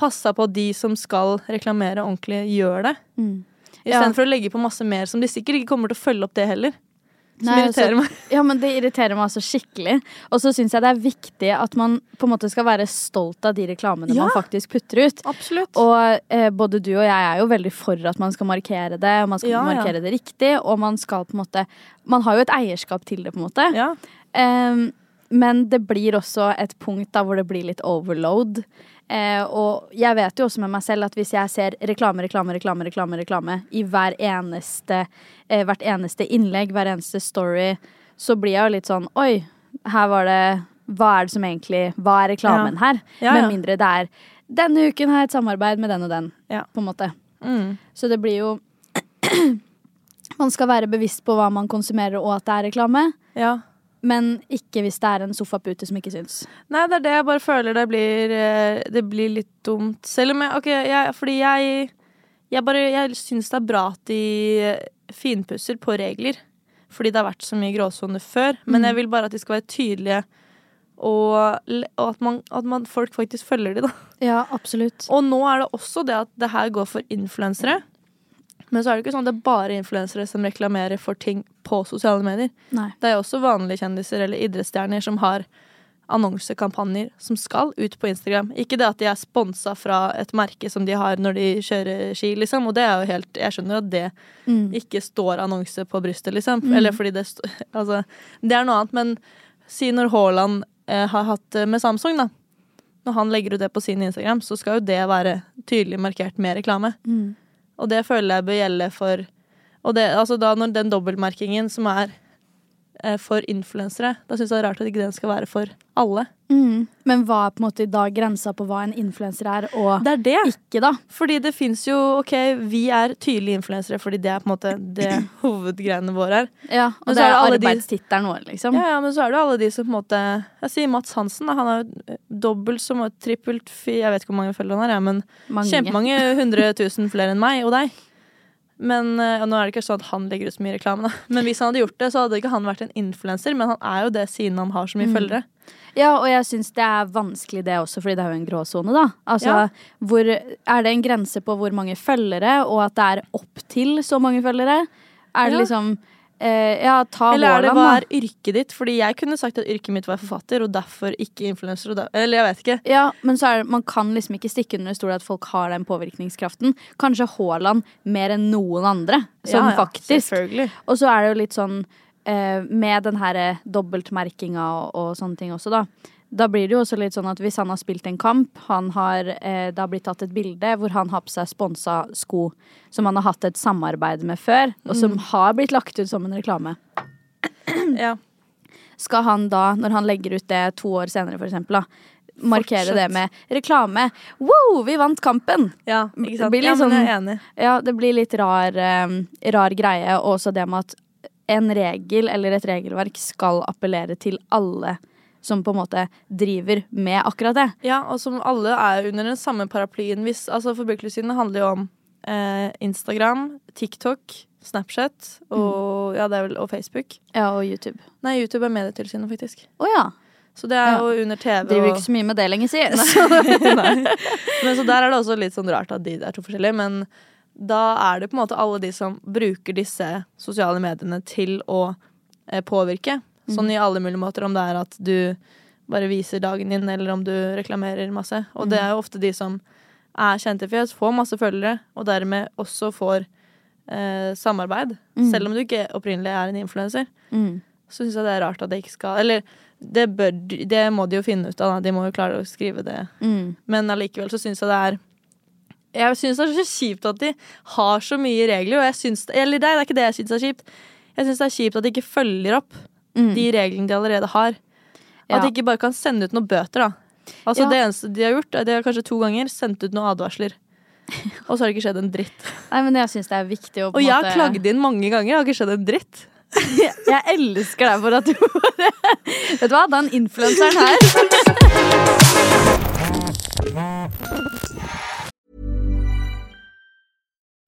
[SPEAKER 4] passa på at de som skal reklamere ordentlig, gjør det.
[SPEAKER 5] Mm. Ja.
[SPEAKER 4] Istedenfor for å legge på masse mer som de sikkert ikke kommer til å følge opp det heller. Som
[SPEAKER 5] Nei, altså-
[SPEAKER 4] irriterer meg.
[SPEAKER 5] Ja, men Det irriterer meg altså skikkelig. Og så syns jeg det er viktig at man på en måte skal være stolt av de reklamene
[SPEAKER 4] Ja.
[SPEAKER 5] man faktisk putter ut.
[SPEAKER 4] Absolutt.
[SPEAKER 5] Og eh, både du og jeg er jo veldig for at man skal markere det, og man skal
[SPEAKER 4] Ja, ja.
[SPEAKER 5] markere det riktig, og man skal på en måte Man har jo et eierskap til det, på en måte.
[SPEAKER 4] ja.
[SPEAKER 5] Em, men det blir også et punkt da hvor det blir litt overload. Eh, og jeg vet jo også med meg selv at hvis jeg ser reklame, reklame, reklame reklame, reklame i hver eneste, eh, hvert eneste innlegg, hver eneste story, så blir jeg jo litt sånn Oi, her var det Hva er det som egentlig Hva er reklamen
[SPEAKER 4] Ja.
[SPEAKER 5] her?
[SPEAKER 4] Ja, ja.
[SPEAKER 5] Med mindre det er Denne uken har jeg et samarbeid med den og den,
[SPEAKER 4] Ja.
[SPEAKER 5] på en måte.
[SPEAKER 4] Mm.
[SPEAKER 5] Så det blir jo Man skal være bevisst på hva man konsumerer, og at det er reklame.
[SPEAKER 4] ja.
[SPEAKER 5] Men ikke hvis det er en sofapute som ikke syns.
[SPEAKER 4] Nei, det er det jeg bare føler det blir eh, Det blir litt dumt. Selv om jeg OK, jeg, fordi jeg Jeg bare Jeg syns det er bra at de eh, finpusser på regler. Fordi det har vært så mye gråsoner før. Men jeg vil bare at de skal være tydelige, og, l- og at, man, at man, folk faktisk følger de, da.
[SPEAKER 5] Ja, absolutt.
[SPEAKER 4] Og nå er det også det at det her går for influensere. Men så er det ikke sånn at det er bare influensere som reklamerer for ting på sosiale medier.
[SPEAKER 5] Nei.
[SPEAKER 4] Det er jo også vanlige kjendiser eller idrettsstjerner som har annonsekampanjer som skal ut på Instagram. Ikke det at de er sponsa fra et merke som de har når de kjører ski, liksom. Og det er jo helt Jeg skjønner jo at det ikke står annonse på brystet, liksom. Eller fordi det st- Altså, det er noe annet, men si når Haaland eh, har hatt det med Samsung, da. Når han legger ut det på sin Instagram, så skal jo det være tydelig markert med reklame. Og det føler jeg bør gjelde for Og det, altså da når den dobbeltmerkingen som er eh, for influensere, da syns jeg det er rart at ikke den skal være for alle.
[SPEAKER 5] Mm. Men hva er på en måte i dag grensa på hva en influenser er, og
[SPEAKER 4] Det er det.
[SPEAKER 5] ikke, da?
[SPEAKER 4] Fordi det fins jo OK, vi er tydelige influensere fordi det er på en måte det hovedgreiene våre er.
[SPEAKER 5] Ja, og
[SPEAKER 4] Men så
[SPEAKER 5] det
[SPEAKER 4] er
[SPEAKER 5] er
[SPEAKER 4] det alle de-
[SPEAKER 5] arbeidstittelen vår, liksom.
[SPEAKER 4] Ja, ja, men så er det jo alle de som på en måte Jeg sier Mats Hansen, da. Han er jo eh, dobbelt som trippelt fi- Jeg vet ikke hvor mange følgere han har, jeg, men
[SPEAKER 5] Mange.
[SPEAKER 4] Kjempemange hundre tusen flere enn meg og deg. Men eh, og Nå er det ikke sånn at han legger ut så mye reklame, da. Men hvis han hadde gjort det, så hadde ikke han vært en influenser. Men han er jo det siden han har så mye følgere.
[SPEAKER 5] Ja, og jeg syns det er vanskelig det også, fordi det er jo en gråsone, da. Altså,
[SPEAKER 4] Ja.
[SPEAKER 5] hvor, er det en grense på hvor mange følgere, og at det er opp til så mange følgere? Er det
[SPEAKER 4] Ja.
[SPEAKER 5] liksom eh, Ja, ta
[SPEAKER 4] Eller er det
[SPEAKER 5] Haaland,
[SPEAKER 4] hva
[SPEAKER 5] da.
[SPEAKER 4] er yrket ditt? Fordi jeg kunne sagt at yrket mitt var forfatter, og derfor ikke influenser. og der- Eller jeg vet ikke.
[SPEAKER 5] Ja, men så er det, man kan liksom ikke stikke under stol at folk har den påvirkningskraften. Kanskje Haaland mer enn noen andre,
[SPEAKER 4] Ja,
[SPEAKER 5] sånn
[SPEAKER 4] ja,
[SPEAKER 5] faktisk.
[SPEAKER 4] Selvfølgelig.
[SPEAKER 5] Og så er det jo litt sånn eh, med den her eh, dobbeltmerkinga og, og sånne ting også, da. Da blir det jo også litt sånn at hvis han har spilt en kamp, han har, eh, det har blitt tatt et bilde hvor han har på seg sponsa sko som han har hatt et samarbeid med før, og
[SPEAKER 4] Mm.
[SPEAKER 5] som har blitt lagt ut som en reklame
[SPEAKER 4] Ja.
[SPEAKER 5] skal han da, når han legger ut det to år senere, for eksempel, da, markere
[SPEAKER 4] Fortsett.
[SPEAKER 5] det med reklame. Wow, vi vant kampen!
[SPEAKER 4] ja ikke sant?
[SPEAKER 5] Det blir litt
[SPEAKER 4] ja, men jeg er
[SPEAKER 5] sånn-
[SPEAKER 4] enig.
[SPEAKER 5] Ja, det blir litt rar, eh, rar greie, og også det med at en regel eller et regelverk skal appellere til alle som på en måte driver med akkurat det.
[SPEAKER 4] Ja, og som alle er under den samme paraplyen. Hvis, altså Forbrukertilsynet handler jo om eh, Instagram, TikTok, Snapchat og, ja, det er vel, og Facebook.
[SPEAKER 5] Ja, og YouTube.
[SPEAKER 4] Nei, YouTube er Medietilsynet, faktisk.
[SPEAKER 5] Å ja.
[SPEAKER 4] Så det er
[SPEAKER 5] Ja.
[SPEAKER 4] jo under TV.
[SPEAKER 5] Driver
[SPEAKER 4] og-
[SPEAKER 5] ikke så mye med det lenger, si.
[SPEAKER 4] Nei. Men så der er det også litt sånn rart at de er to forskjellige, men da er det på en måte alle de som bruker disse sosiale mediene til å eh, påvirke. Sånn i alle mulige måter, om det er at du bare viser dagen din, eller om du reklamerer masse. Og det er jo ofte de som er kjente i fjes, får masse følgere, og dermed også får eh, samarbeid. Selv om du ikke opprinnelig er en influenser
[SPEAKER 5] Mm.
[SPEAKER 4] så syns jeg det er rart at det ikke skal Eller det, bør, de- det må de jo finne ut av, da. de må jo klare å skrive det.
[SPEAKER 5] Mm.
[SPEAKER 4] Men allikevel så syns jeg det er Jeg syns det er så kjipt at de har så mye regler, og jeg syns Eller nei, det er ikke det jeg syns er kjipt. Jeg syns det er kjipt at de ikke følger opp de reglene de allerede har.
[SPEAKER 5] Mm. Ja.
[SPEAKER 4] At de ikke bare kan sende ut noen bøter, da. Altså
[SPEAKER 5] Ja.
[SPEAKER 4] Det eneste de har gjort, er de har kanskje to ganger sendt ut noen advarsler. Og så har det ikke skjedd en dritt.
[SPEAKER 5] Nei, men jeg syns det er viktig å på
[SPEAKER 4] Og
[SPEAKER 5] en
[SPEAKER 4] jeg har
[SPEAKER 5] måte
[SPEAKER 4] klagd inn mange ganger, det har ikke skjedd en dritt.
[SPEAKER 5] Jeg elsker deg for at du bare Vet du hva, den influenseren her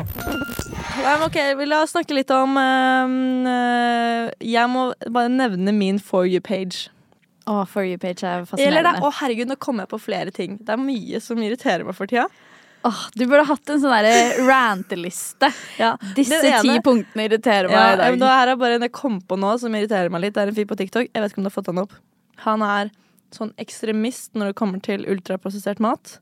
[SPEAKER 4] Um, ok, jeg vil snakke litt om um, eh, Jeg må bare nevne min For you-page.
[SPEAKER 5] Å, for you page er
[SPEAKER 4] Eller det,
[SPEAKER 5] fascinerende
[SPEAKER 4] Å, herregud, nå kommer jeg på flere ting. Det er mye som irriterer meg for tida.
[SPEAKER 5] Åh, Du burde hatt en sånn der ranteliste
[SPEAKER 4] Ja,
[SPEAKER 5] Disse
[SPEAKER 4] den ene-
[SPEAKER 5] ti punktene irriterer meg
[SPEAKER 4] Ja,
[SPEAKER 5] i dag
[SPEAKER 4] men det her er bare en jeg kom på nå som irriterer meg litt. Det er en fyr på TikTok. Jeg vet ikke om du har fått han opp. Han er sånn ekstremist når det kommer til ultraprosessert mat.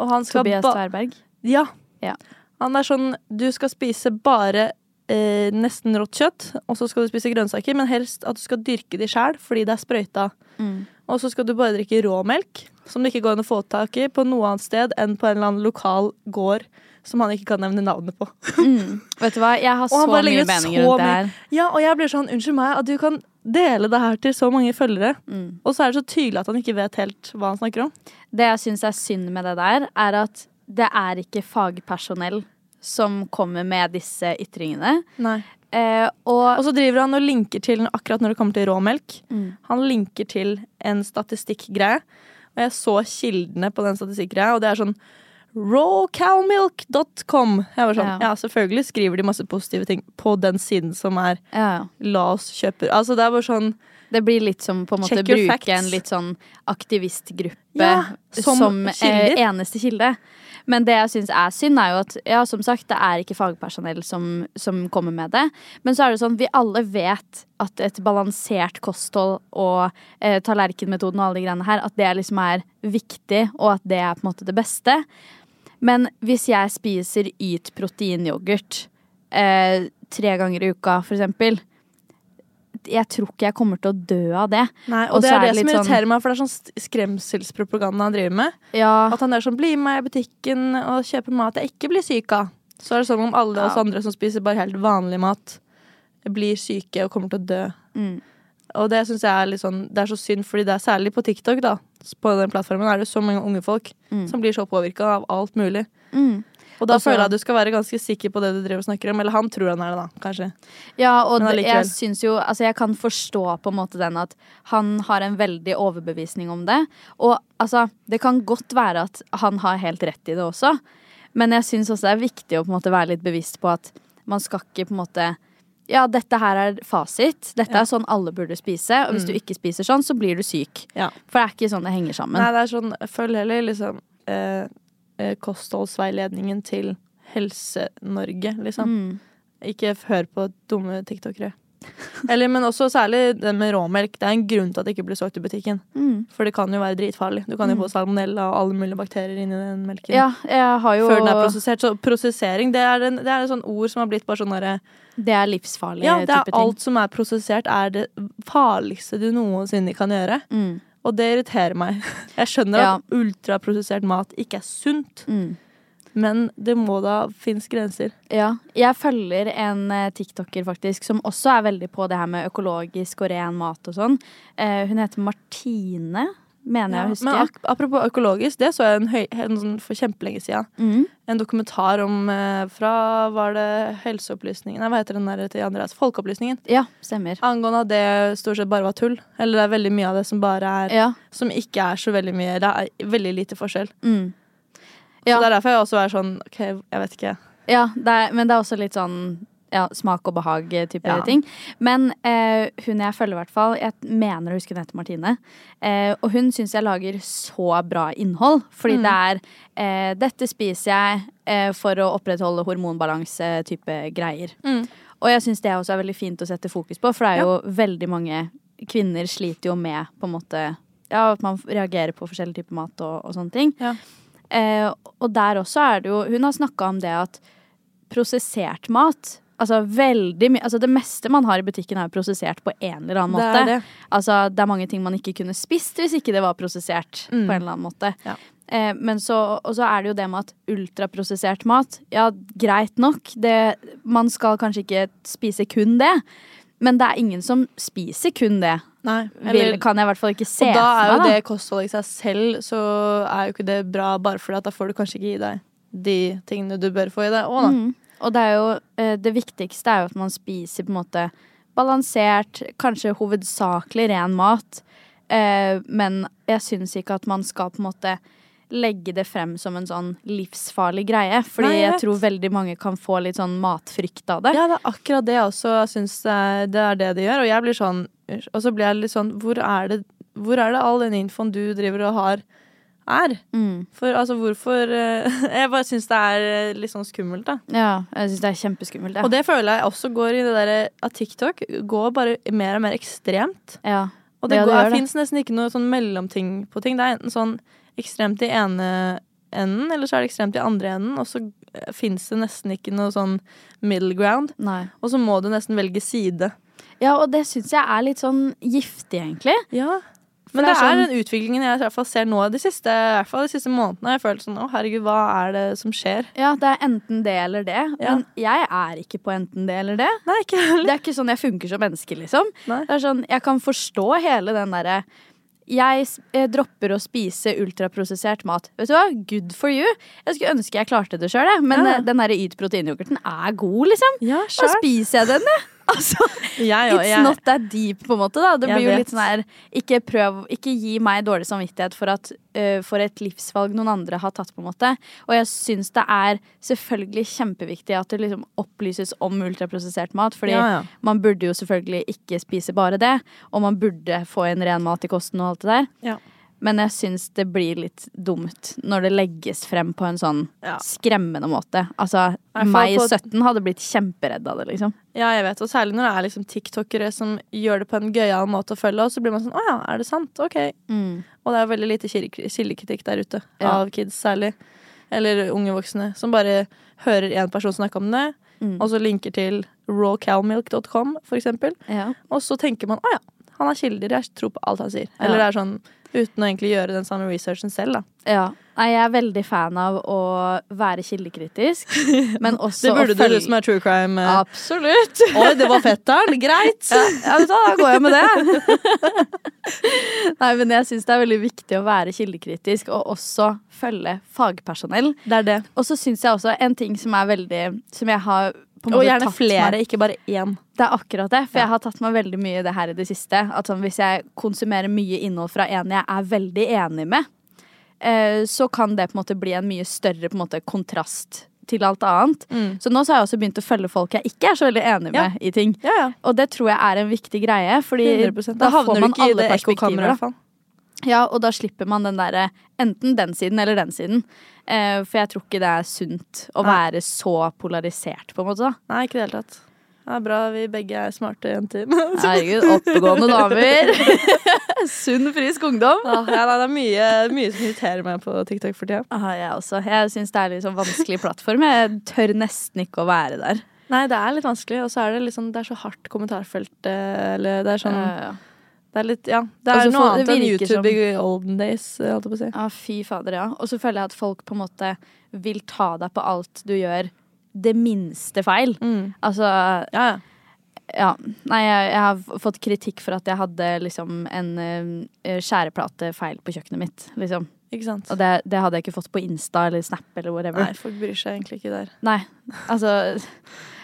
[SPEAKER 4] Og han skal
[SPEAKER 5] Tobias
[SPEAKER 4] ba-
[SPEAKER 5] Tverberg
[SPEAKER 4] Ja.
[SPEAKER 5] Ja.
[SPEAKER 4] Han er sånn Du skal spise bare eh, nesten rått kjøtt, og så skal du spise grønnsaker, men helst at du skal dyrke de sjæl fordi det er sprøyta.
[SPEAKER 5] Mm.
[SPEAKER 4] Og så skal du bare drikke råmelk, som det ikke går an å få tak i på noe annet sted enn på en eller annen lokal gård som han ikke kan nevne navnet på.
[SPEAKER 5] Vet du hva, jeg har
[SPEAKER 4] Og
[SPEAKER 5] så
[SPEAKER 4] han bare
[SPEAKER 5] mye
[SPEAKER 4] legger ut
[SPEAKER 5] meninger
[SPEAKER 4] så
[SPEAKER 5] rundt det
[SPEAKER 4] mye-
[SPEAKER 5] her
[SPEAKER 4] Ja, og jeg blir sånn, unnskyld meg, at du kan dele det her til så mange følgere.
[SPEAKER 5] Mm.
[SPEAKER 4] Og så er det så tydelig at han ikke vet helt hva han snakker om.
[SPEAKER 5] Det jeg syns er synd med det der, er at det er ikke fagpersonell som kommer med disse ytringene. Eh,
[SPEAKER 4] Og
[SPEAKER 5] og Mm.
[SPEAKER 4] så driver han og linker til akkurat når det kommer til råmelk. Han linker til en statistikkgreie. Og jeg så kildene på den statistikkgreia, og det er sånn rawcowmilk.com. Jeg var sånn,
[SPEAKER 5] Ja.
[SPEAKER 4] ja. selvfølgelig skriver de masse positive ting på den siden som er
[SPEAKER 5] ja,
[SPEAKER 4] la oss kjøpe Altså det er bare sånn
[SPEAKER 5] det blir litt som på en måte
[SPEAKER 4] Check your
[SPEAKER 5] bruke
[SPEAKER 4] facts.
[SPEAKER 5] en litt sånn aktivistgruppe
[SPEAKER 4] Ja, som
[SPEAKER 5] som, eh,
[SPEAKER 4] kilder.
[SPEAKER 5] eneste kilde. Men det jeg syns er synd, er jo at ja, som sagt, det er ikke fagpersonell som, som kommer med det. Men så er det sånn, vi alle vet at et balansert kosthold og eh, tallerkenmetoden og alle de greiene her, at det liksom er viktig, og at det er på en måte det beste. Men hvis jeg spiser Yt proteinyoghurt eh, tre ganger i uka, for eksempel Jeg tror ikke jeg kommer til å dø av det.
[SPEAKER 4] Nei,
[SPEAKER 5] Og
[SPEAKER 4] og det
[SPEAKER 5] så
[SPEAKER 4] er det, som
[SPEAKER 5] litt
[SPEAKER 4] irriterer meg, for det er sånn st- skremselspropaganda han driver med.
[SPEAKER 5] sånn, ja,
[SPEAKER 4] At han er sånn 'bli med meg i butikken og kjøpe mat jeg ikke blir syk av'. Så er det som om alle oss andre som spiser bare helt vanlig mat, blir syke og kommer til å dø. Og det syns jeg er litt sånn Det er så synd, fordi det er særlig på TikTok, da. På den plattformen er det så mange unge folk som blir så påvirka av alt mulig. Og da
[SPEAKER 5] Og så-
[SPEAKER 4] føler jeg du skal være ganske sikker på det du driver og snakker om. Eller han tror han er det, da, kanskje.
[SPEAKER 5] Ja, og
[SPEAKER 4] Men
[SPEAKER 5] det-
[SPEAKER 4] allikevel.
[SPEAKER 5] jeg syns jo Altså, jeg kan forstå på en måte den at han har en veldig overbevisning om det. Og altså, det kan godt være at han har helt rett i det også, men jeg syns også det er viktig å på en måte være litt bevisst på at man skal ikke på en måte ja, dette her er fasit. Dette er sånn alle burde spise. Og hvis du ikke spiser sånn, så blir du syk.
[SPEAKER 4] Mm. Ja.
[SPEAKER 5] For det er ikke sånn det henger sammen.
[SPEAKER 4] Nei, det er sånn, følg heller liksom eh, eh, kostholdsveiledningen til Helse-Norge,
[SPEAKER 5] Mm.
[SPEAKER 4] liksom. Ikke f- hør på dumme tiktokere. Eller, men også særlig det med råmelk. Det er en grunn til at det ikke blir solgt i butikken.
[SPEAKER 5] Mm.
[SPEAKER 4] For det kan jo være dritfarlig. Du kan jo få salmonella og alle mulige bakterier inni den melken.
[SPEAKER 5] ja, jeg har jo
[SPEAKER 4] Før den er prosessert. Så prosessering, det er, en, det er et sånt ord som har blitt bare sånn derre
[SPEAKER 5] Det er livsfarlig
[SPEAKER 4] Ja, det
[SPEAKER 5] type
[SPEAKER 4] er
[SPEAKER 5] ting.
[SPEAKER 4] alt som er prosessert, er det farligste du noensinne kan gjøre. Og det irriterer meg. Jeg skjønner
[SPEAKER 5] Mm. Ja.
[SPEAKER 4] at ultraprosessert mat ikke er sunt,
[SPEAKER 5] Mm.
[SPEAKER 4] men det må da finnes grenser.
[SPEAKER 5] Ja. Jeg følger en eh, tiktoker faktisk som også er veldig på det her med økologisk og ren mat og sånn. Eh, hun heter Martine, mener jeg å huske.
[SPEAKER 4] Men ak apropos økologisk, det så jeg en høy, en sånn for kjempelenge siden.
[SPEAKER 5] Mm.
[SPEAKER 4] En dokumentar om eh, fra var det Helseopplysningen Nei, hva heter den der til Andreas? Folkeopplysningen.
[SPEAKER 5] Ja, stemmer.
[SPEAKER 4] Angående at det stort sett bare var tull. Eller det er veldig mye av det som bare er
[SPEAKER 5] Ja.
[SPEAKER 4] Som ikke er så veldig mye. Det er veldig lite forskjell.
[SPEAKER 5] Mm.
[SPEAKER 4] Så
[SPEAKER 5] Ja.
[SPEAKER 4] det er derfor jeg også er sånn OK, jeg vet ikke.
[SPEAKER 5] Ja, det er, men det er også litt sånn ja, smak og behag-type
[SPEAKER 4] Ja.
[SPEAKER 5] ting. Men eh, hun jeg følger, i hvert fall, jeg mener å huske hun heter Martine. Eh, og hun syns jeg lager så bra innhold. Fordi det er eh, 'dette spiser jeg eh, for å opprettholde hormonbalanse'-type greier. Og jeg syns det også er veldig fint å sette fokus på, for det er jo veldig mange kvinner sliter jo med på en måte ja, at man reagerer på forskjellige typer mat og, og sånne ting.
[SPEAKER 4] Ja.
[SPEAKER 5] Eh, og der også er det jo Hun har snakka om det at prosessert mat Altså veldig mye Altså det meste man har i butikken er jo prosessert på en eller annen
[SPEAKER 4] Det er
[SPEAKER 5] måte.
[SPEAKER 4] det.
[SPEAKER 5] Altså det er mange ting man ikke kunne spist hvis ikke det var prosessert på en eller annen måte.
[SPEAKER 4] Mm. Ja.
[SPEAKER 5] Eh, men så, og så er det jo det med at ultraprosessert mat, ja greit nok, det, man skal kanskje ikke spise kun det. Men det er ingen som spiser kun det.
[SPEAKER 4] Nei.
[SPEAKER 5] Vil, kan jeg i hvert fall ikke se
[SPEAKER 4] og
[SPEAKER 5] for
[SPEAKER 4] da er jo
[SPEAKER 5] meg.
[SPEAKER 4] det kostholdet i seg selv, så er jo ikke det bra bare fordi at da får du kanskje ikke i deg de tingene du bør få i deg
[SPEAKER 5] Mm.
[SPEAKER 4] òg, da.
[SPEAKER 5] Og det, er jo, eh, det viktigste er jo at man spiser på en måte balansert, kanskje hovedsakelig ren mat. Eh, men jeg syns ikke at man skal på en måte legge det frem som en sånn livsfarlig greie. Fordi
[SPEAKER 4] Nei, jeg
[SPEAKER 5] jeg,
[SPEAKER 4] vet.
[SPEAKER 5] tror veldig mange kan få litt sånn matfrykt av det.
[SPEAKER 4] Ja, det er akkurat det jeg også syns er- det er det de gjør. Og jeg blir sånn Og så blir jeg litt sånn Hvor er det, hvor er det all den infoen du driver og har, er?
[SPEAKER 5] Mm.
[SPEAKER 4] For altså, hvorfor eh, Jeg bare syns det er eh, litt sånn skummelt, da.
[SPEAKER 5] Ja, jeg syns det er kjempeskummelt.
[SPEAKER 4] Og
[SPEAKER 5] Ja.
[SPEAKER 4] det føler jeg også går i det derre at TikTok går bare mer og mer ekstremt.
[SPEAKER 5] ja.
[SPEAKER 4] Og det,
[SPEAKER 5] Ja, det
[SPEAKER 4] går-
[SPEAKER 5] gjør det.
[SPEAKER 4] finnes nesten ikke noe sånn mellomting på ting. Det er enten sånn ekstremt i ene enden, eller så er det ekstremt i andre enden, og så eh, finnes det nesten ikke noe sånn middle ground.
[SPEAKER 5] Nei.
[SPEAKER 4] Og så må du nesten velge side.
[SPEAKER 5] ja, og det syns jeg er litt sånn giftig, egentlig.
[SPEAKER 4] Ja. Men det
[SPEAKER 5] det er
[SPEAKER 4] er,
[SPEAKER 5] sånn-
[SPEAKER 4] den utviklingen jeg i hvert fall ser nå de siste, i hvert fall de siste månedene. Jeg føler sånn, å herregud, hva er det som skjer?
[SPEAKER 5] Ja, det er enten det eller det.
[SPEAKER 4] Ja.
[SPEAKER 5] Men jeg er ikke på enten det eller det.
[SPEAKER 4] Nei, ikke heller.
[SPEAKER 5] Det er ikke sånn jeg funker som menneske, liksom.
[SPEAKER 4] Nei.
[SPEAKER 5] Det er sånn, Jeg kan forstå hele den derre jeg s- eh, dropper å spise ultraprosessert mat. Vet du hva? Good for you. Jeg skulle ønske jeg klarte det sjøl, men
[SPEAKER 4] Ja.
[SPEAKER 5] eh, den der Yt proteinyoghurten er god, liksom.
[SPEAKER 4] Ja,
[SPEAKER 5] Da spiser jeg den, jeg. Altså,
[SPEAKER 4] Jeg, og
[SPEAKER 5] it's
[SPEAKER 4] jeg,
[SPEAKER 5] not that deep, på en måte. da Det
[SPEAKER 4] Jeg
[SPEAKER 5] blir jo
[SPEAKER 4] vet.
[SPEAKER 5] litt sånn her Ikke prøv Ikke gi meg dårlig samvittighet for, at, eh, for et livsvalg noen andre har tatt, på en måte. Og jeg syns det er selvfølgelig kjempeviktig at det liksom opplyses om ultraprosessert mat, fordi
[SPEAKER 4] Ja, ja.
[SPEAKER 5] man burde jo selvfølgelig ikke spise bare det, og man burde få en ren mat i kosten og alt det der.
[SPEAKER 4] Ja.
[SPEAKER 5] Men jeg syns det blir litt dumt når det legges frem på en sånn
[SPEAKER 4] Ja.
[SPEAKER 5] skremmende måte. Altså,
[SPEAKER 4] I hvert fall
[SPEAKER 5] meg i
[SPEAKER 4] på-
[SPEAKER 5] 17 hadde blitt kjemperedd av det, liksom.
[SPEAKER 4] ja, jeg vet. Og særlig når det er liksom tiktokere som gjør det på en gøyal måte å følge, og så blir man sånn, å ja, er det sant? Ok. Og det er veldig lite kilde- kildekritikk der ute,
[SPEAKER 5] Mm. Ja.
[SPEAKER 4] av kids særlig. Eller unge voksne, som bare hører en person snakke om det,
[SPEAKER 5] Mm.
[SPEAKER 4] og så linker til rawcowmilk.com, for eksempel.
[SPEAKER 5] Ja.
[SPEAKER 4] Og så tenker man å ja, han har kilder, jeg tror på alt han sier. Eller det er sånn uten å egentlig gjøre den samme researchen selv, da.
[SPEAKER 5] Ja. Nei, jeg er veldig fan av å være kildekritisk, men også
[SPEAKER 4] Det burde
[SPEAKER 5] å
[SPEAKER 4] du, du som er true crime. eh,
[SPEAKER 5] Absolutt!
[SPEAKER 4] Oi, det var fetteren! Greit!
[SPEAKER 5] Ja, ja, vet du hva, da går jeg med det. Nei, men jeg syns det er veldig viktig å være kildekritisk, og også følge fagpersonell.
[SPEAKER 4] Det er det.
[SPEAKER 5] Og så syns jeg også en ting som er veldig Som jeg har på en
[SPEAKER 4] Og
[SPEAKER 5] måte
[SPEAKER 4] gjerne
[SPEAKER 5] tatt
[SPEAKER 4] flere,
[SPEAKER 5] meg
[SPEAKER 4] ikke bare én.
[SPEAKER 5] Det er akkurat det, for jeg har tatt meg veldig mye i det her i det siste. At sånn, hvis jeg konsumerer mye innhold fra en jeg er veldig enig med, eh, så kan det på en måte bli en mye større på en måte, kontrast til alt annet. Så nå så har jeg også begynt å følge folk jeg ikke er så veldig enig
[SPEAKER 4] Mm. Ja.
[SPEAKER 5] med i ting.
[SPEAKER 4] Ja, ja.
[SPEAKER 5] Og det tror jeg er en viktig greie, fordi
[SPEAKER 4] 100 Da
[SPEAKER 5] da får
[SPEAKER 4] havner du
[SPEAKER 5] man
[SPEAKER 4] ikke i
[SPEAKER 5] alle
[SPEAKER 4] det ekkokammeret, i
[SPEAKER 5] perspektiver.
[SPEAKER 4] hvert
[SPEAKER 5] Da.
[SPEAKER 4] fall.
[SPEAKER 5] Ja, og da slipper man den derre enten den siden eller den siden. Eh, for jeg tror ikke det er sunt å
[SPEAKER 4] Nei.
[SPEAKER 5] være så polarisert, på en måte. da.
[SPEAKER 4] Nei, ikke i det hele tatt. Det er bra vi begge er smarte jenter.
[SPEAKER 5] Herregud, oppegående damer. Sunn, frisk ungdom.
[SPEAKER 4] Åh, ja, nei, det er mye, mye som irriterer meg på TikTok for tida.
[SPEAKER 5] Ah, jeg også. Jeg syns det er litt sånn vanskelig plattform. Jeg tør nesten ikke å være der.
[SPEAKER 4] Nei, det er litt vanskelig, og så er det liksom Det er så hardt kommentarfelt, eh, eller det er sånn
[SPEAKER 5] Eh,
[SPEAKER 4] Det er litt, ja. Det
[SPEAKER 5] Og
[SPEAKER 4] er
[SPEAKER 5] så
[SPEAKER 4] noe
[SPEAKER 5] får-
[SPEAKER 4] annet
[SPEAKER 5] det
[SPEAKER 4] enn
[SPEAKER 5] virker som-
[SPEAKER 4] YouTube i olden days, eh, holdt jeg på å si.
[SPEAKER 5] Ja, fy fader, ja. Og så føler jeg at folk på en måte vil ta deg på alt du gjør, det minste feil. Altså,
[SPEAKER 4] Ja, ja.
[SPEAKER 5] ja. Nei, jeg, jeg har fått kritikk for at jeg hadde liksom en eh, skjæreplate feil på kjøkkenet mitt, liksom.
[SPEAKER 4] Ikke sant.
[SPEAKER 5] Og det, det hadde jeg ikke fått på Insta eller Snap eller whatever.
[SPEAKER 4] Nei, folk bryr seg egentlig ikke der.
[SPEAKER 5] Nei, altså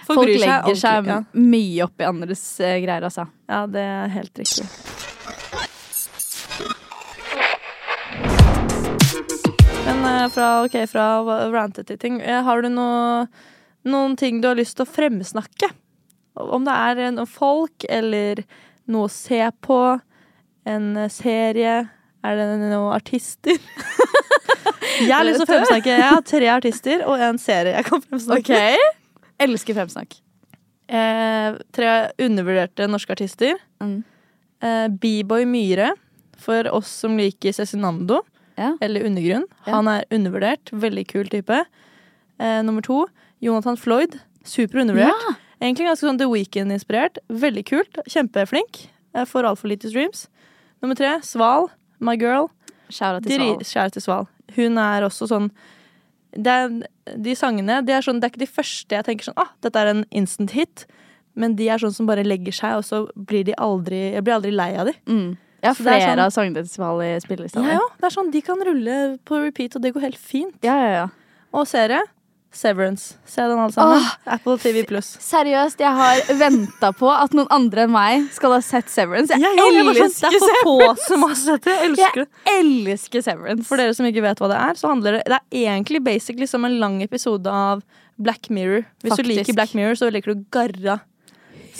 [SPEAKER 5] Folk,
[SPEAKER 4] bryr seg
[SPEAKER 5] legger seg
[SPEAKER 4] alltid, ja.
[SPEAKER 5] mye opp i andres eh, greier, altså.
[SPEAKER 4] Ja, det er helt riktig. Men eh, fra, ok, fra rantet til ting, eh, har du noe, noen ting du har lyst til å fremsnakke? Om det er eh, noen folk, eller noe å se på, en eh, serie, er det noen artister? jeg har lyst til å fremsnakke, jeg har tre artister og en serie jeg kan fremsnakke.
[SPEAKER 5] Elsker fremsnakk.
[SPEAKER 4] Eh, tre undervurderte norske artister.
[SPEAKER 5] Mm.
[SPEAKER 4] Eh, B-boy Myhre, for oss som liker Cezinando,
[SPEAKER 5] Ja.
[SPEAKER 4] eller Undergrunn.
[SPEAKER 5] Ja.
[SPEAKER 4] Han er undervurdert, veldig kul type. Eh, nummer to, Jonathan Floyd. Super undervurdert.
[SPEAKER 5] Ja.
[SPEAKER 4] Egentlig ganske sånn The Weekend-inspirert. Veldig kult, kjempeflink. Eh, får altfor lite streams. Nummer tre, Sval. My girl.
[SPEAKER 5] Shout out til
[SPEAKER 4] Dri-
[SPEAKER 5] Sval.
[SPEAKER 4] Kjære til Sval. Hun er også sånn det er, De sangene det er, sånn, det er ikke de første jeg tenker sånn ah, dette er en instant hit. Men de er sånn som bare legger seg, og så blir de aldri Jeg blir aldri lei av de.
[SPEAKER 5] Jeg har
[SPEAKER 4] Så det er
[SPEAKER 5] flere
[SPEAKER 4] sånn-
[SPEAKER 5] av sangene til Sval i spillelista.
[SPEAKER 4] Ja, ja, det er sånn, De kan rulle på repeat, og det går helt fint.
[SPEAKER 5] ja, ja, ja.
[SPEAKER 4] Og serie Severance. Se den alle sammen. Apple TV pluss.
[SPEAKER 5] Seriøst, jeg har venta på at noen andre enn meg skal ha sett Severance. Jeg elsker
[SPEAKER 4] Det er for få som har sett det. Jeg elsker det.
[SPEAKER 5] Jeg elsker Severance.
[SPEAKER 4] For dere som ikke vet hva det er, så handler det Det er egentlig basically som en lang episode av Black Mirror. Hvis
[SPEAKER 5] Faktisk.
[SPEAKER 4] du liker Black Mirror, så liker du garra.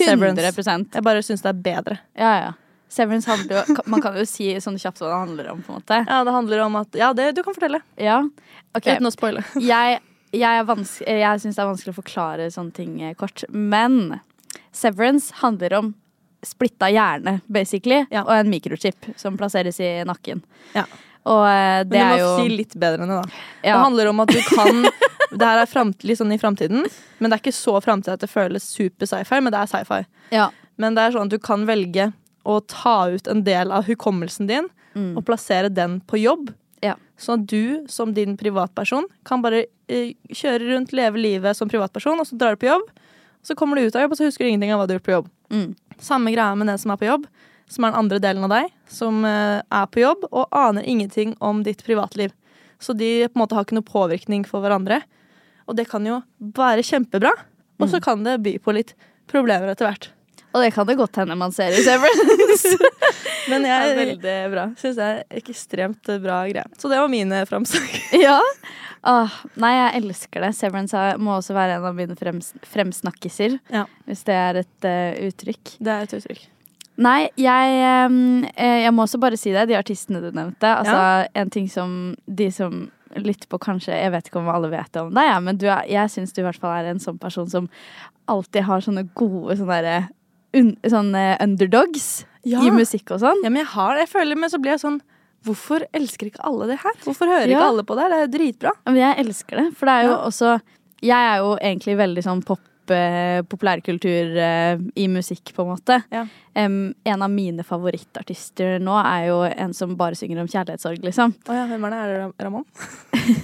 [SPEAKER 5] 100
[SPEAKER 4] Jeg bare syns det er bedre.
[SPEAKER 5] ja, ja. Severance handler jo Man kan jo si sånn kjapt hva det handler om, på en måte.
[SPEAKER 4] Ja, det handler om at Ja, det du kan fortelle.
[SPEAKER 5] Ja. Ok.
[SPEAKER 4] Uten å spoile.
[SPEAKER 5] jeg, jeg, er vans- jeg syns det er vanskelig å forklare sånne ting eh, kort. Men severance handler om splitta hjerne, basically,
[SPEAKER 4] Ja.
[SPEAKER 5] og en mikrochip som plasseres i nakken.
[SPEAKER 4] Ja.
[SPEAKER 5] Og eh, det
[SPEAKER 4] Men
[SPEAKER 5] er
[SPEAKER 4] du
[SPEAKER 5] jo
[SPEAKER 4] må si litt bedre enn det, da.
[SPEAKER 5] ja,
[SPEAKER 4] Det handler om at du kan Det her er fram- litt sånn i framtiden, men det er ikke så framtid at det føles super sci-fi, men det er sci-fi.
[SPEAKER 5] ja.
[SPEAKER 4] Men det er sånn at du kan velge å ta ut en del av hukommelsen din og plassere den på jobb.
[SPEAKER 5] Ja.
[SPEAKER 4] Sånn at du som din privatperson kan bare eh, kjøre rundt, leve livet som privatperson, og så drar du på jobb. Så kommer du ut av jobb, og så husker du ingenting av hva du har gjort på jobb.
[SPEAKER 5] Mm.
[SPEAKER 4] Samme greia med den som er på jobb, som er den andre delen av deg, som eh, er på jobb og aner ingenting om ditt privatliv. Så de på en måte har ikke noe påvirkning for hverandre. Og det kan jo være kjempebra, og så kan det by på litt problemer etter hvert.
[SPEAKER 5] Og det kan det godt hende man ser i Severance.
[SPEAKER 4] Men
[SPEAKER 5] Det
[SPEAKER 4] jeg
[SPEAKER 5] er veldig bra.
[SPEAKER 4] syns det er ekstremt bra greie. Så det var mine framsnakk.
[SPEAKER 5] Ja. Åh, nei, jeg elsker det. Severance er- må også være en av mine frems, fremsnakkiser,
[SPEAKER 4] Ja.
[SPEAKER 5] hvis det er et eh, uttrykk.
[SPEAKER 4] Det er et uttrykk.
[SPEAKER 5] Nei, jeg, ehm, eh, jeg må også bare si det. De artistene du nevnte. Altså, En ting som de som lytter på, kanskje Jeg vet ikke om alle vet om deg, ja, men du er, jeg syns du i hvert fall er en sånn person som alltid har sånne gode sånne, derre un, sånne underdogs
[SPEAKER 4] Ja.
[SPEAKER 5] i musikk og sånn.
[SPEAKER 4] Ja, men jeg har det. Jeg føler, men så blir jeg sånn Hvorfor elsker ikke alle det her? Hvorfor hører
[SPEAKER 5] Ja.
[SPEAKER 4] ikke alle på det her? Det er jo dritbra.
[SPEAKER 5] Men jeg elsker det, for det er jo
[SPEAKER 4] Ja.
[SPEAKER 5] også Jeg er jo egentlig veldig sånn pop, eh, populærkultur eh, i musikk, på en måte.
[SPEAKER 4] Ja.
[SPEAKER 5] Em, en av mine favorittartister nå er jo en som bare synger om kjærlighetssorg, liksom.
[SPEAKER 4] Å ja, hvem er det? Er det Ra- Ramón?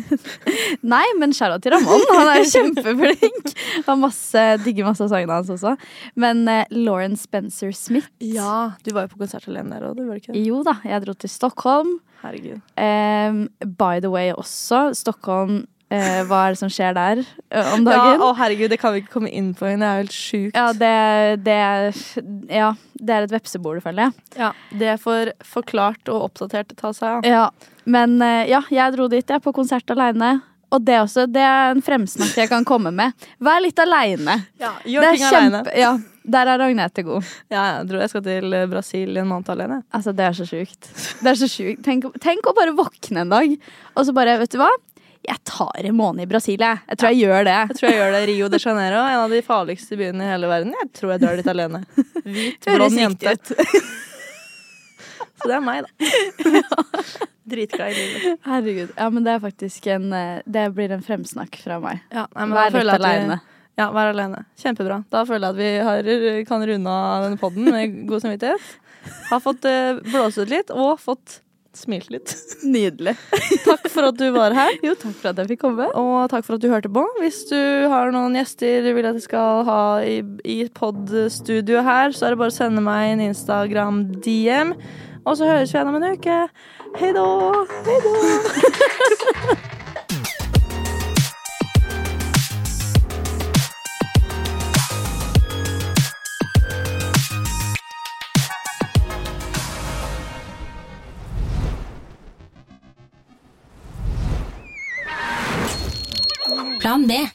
[SPEAKER 5] Nei, men shout-out til Ramón. Han er kjempeflink. Har masse, digger masse av sangene hans også. Men eh, Lauren Spencer Smith
[SPEAKER 4] Ja, du var jo på konsert alene der òg, du var det ikke det?
[SPEAKER 5] Jo da, jeg dro til Stockholm.
[SPEAKER 4] Herregud.
[SPEAKER 5] Em, by the way også. Stockholm, eh, hva er det som skjer der eh,
[SPEAKER 4] Ja,
[SPEAKER 5] om dagen?
[SPEAKER 4] å herregud, det kan vi ikke komme inn på igjen. Det er jo helt sjukt.
[SPEAKER 5] Ja, det, det, er- ja, det er et vepsebol, føler jeg.
[SPEAKER 4] Ja, det får forklart og oppdatert ta seg av.
[SPEAKER 5] Ja, men eh, ja, jeg dro dit, jeg, på konsert aleine. Og det også. Det er en fremsnakk jeg kan komme med. Vær litt aleine.
[SPEAKER 4] Ja,
[SPEAKER 5] Det
[SPEAKER 4] gjør
[SPEAKER 5] er
[SPEAKER 4] ting aleine.
[SPEAKER 5] kjempe... Ja, der er Agnete god.
[SPEAKER 4] Ja, jeg tror jeg skal til eh, Brasil i en måned alene.
[SPEAKER 5] Altså, det er så sjukt. Det er så sjukt. Tenk, tenk å bare våkne en dag, og så bare, vet du hva? Jeg tar en måned i Brasil, jeg. Jeg tror jeg gjør det.
[SPEAKER 4] Jeg tror jeg gjør det. Rio de Janeiro, en av de farligste byene i hele verden. Jeg tror jeg drar dit alene. Hvit, blond jente. Så det er meg, da. Dritglad i livet.
[SPEAKER 5] Herregud. Ja, men det er faktisk en eh, Det blir en fremsnakk fra meg.
[SPEAKER 4] Ja, nei, men da
[SPEAKER 5] Vær
[SPEAKER 4] føler
[SPEAKER 5] litt
[SPEAKER 4] jeg at vi-
[SPEAKER 5] aleine.
[SPEAKER 4] Ja, vær alene. Kjempebra. Da føler jeg at vi har, kan runde av denne poden med god samvittighet. Har fått eh, blåst ut litt, og fått smilt litt.
[SPEAKER 5] Nydelig.
[SPEAKER 4] Takk for at du var her.
[SPEAKER 5] Jo, takk for at jeg fikk komme.
[SPEAKER 4] Og takk for at du hørte på. Hvis du har noen gjester du vil at jeg skal ha i, i podstudio her, så er det bare å sende meg en Instagram-DM. Og så høres vi igjen om en uke. Hei da! Hei da!
[SPEAKER 6] Plan B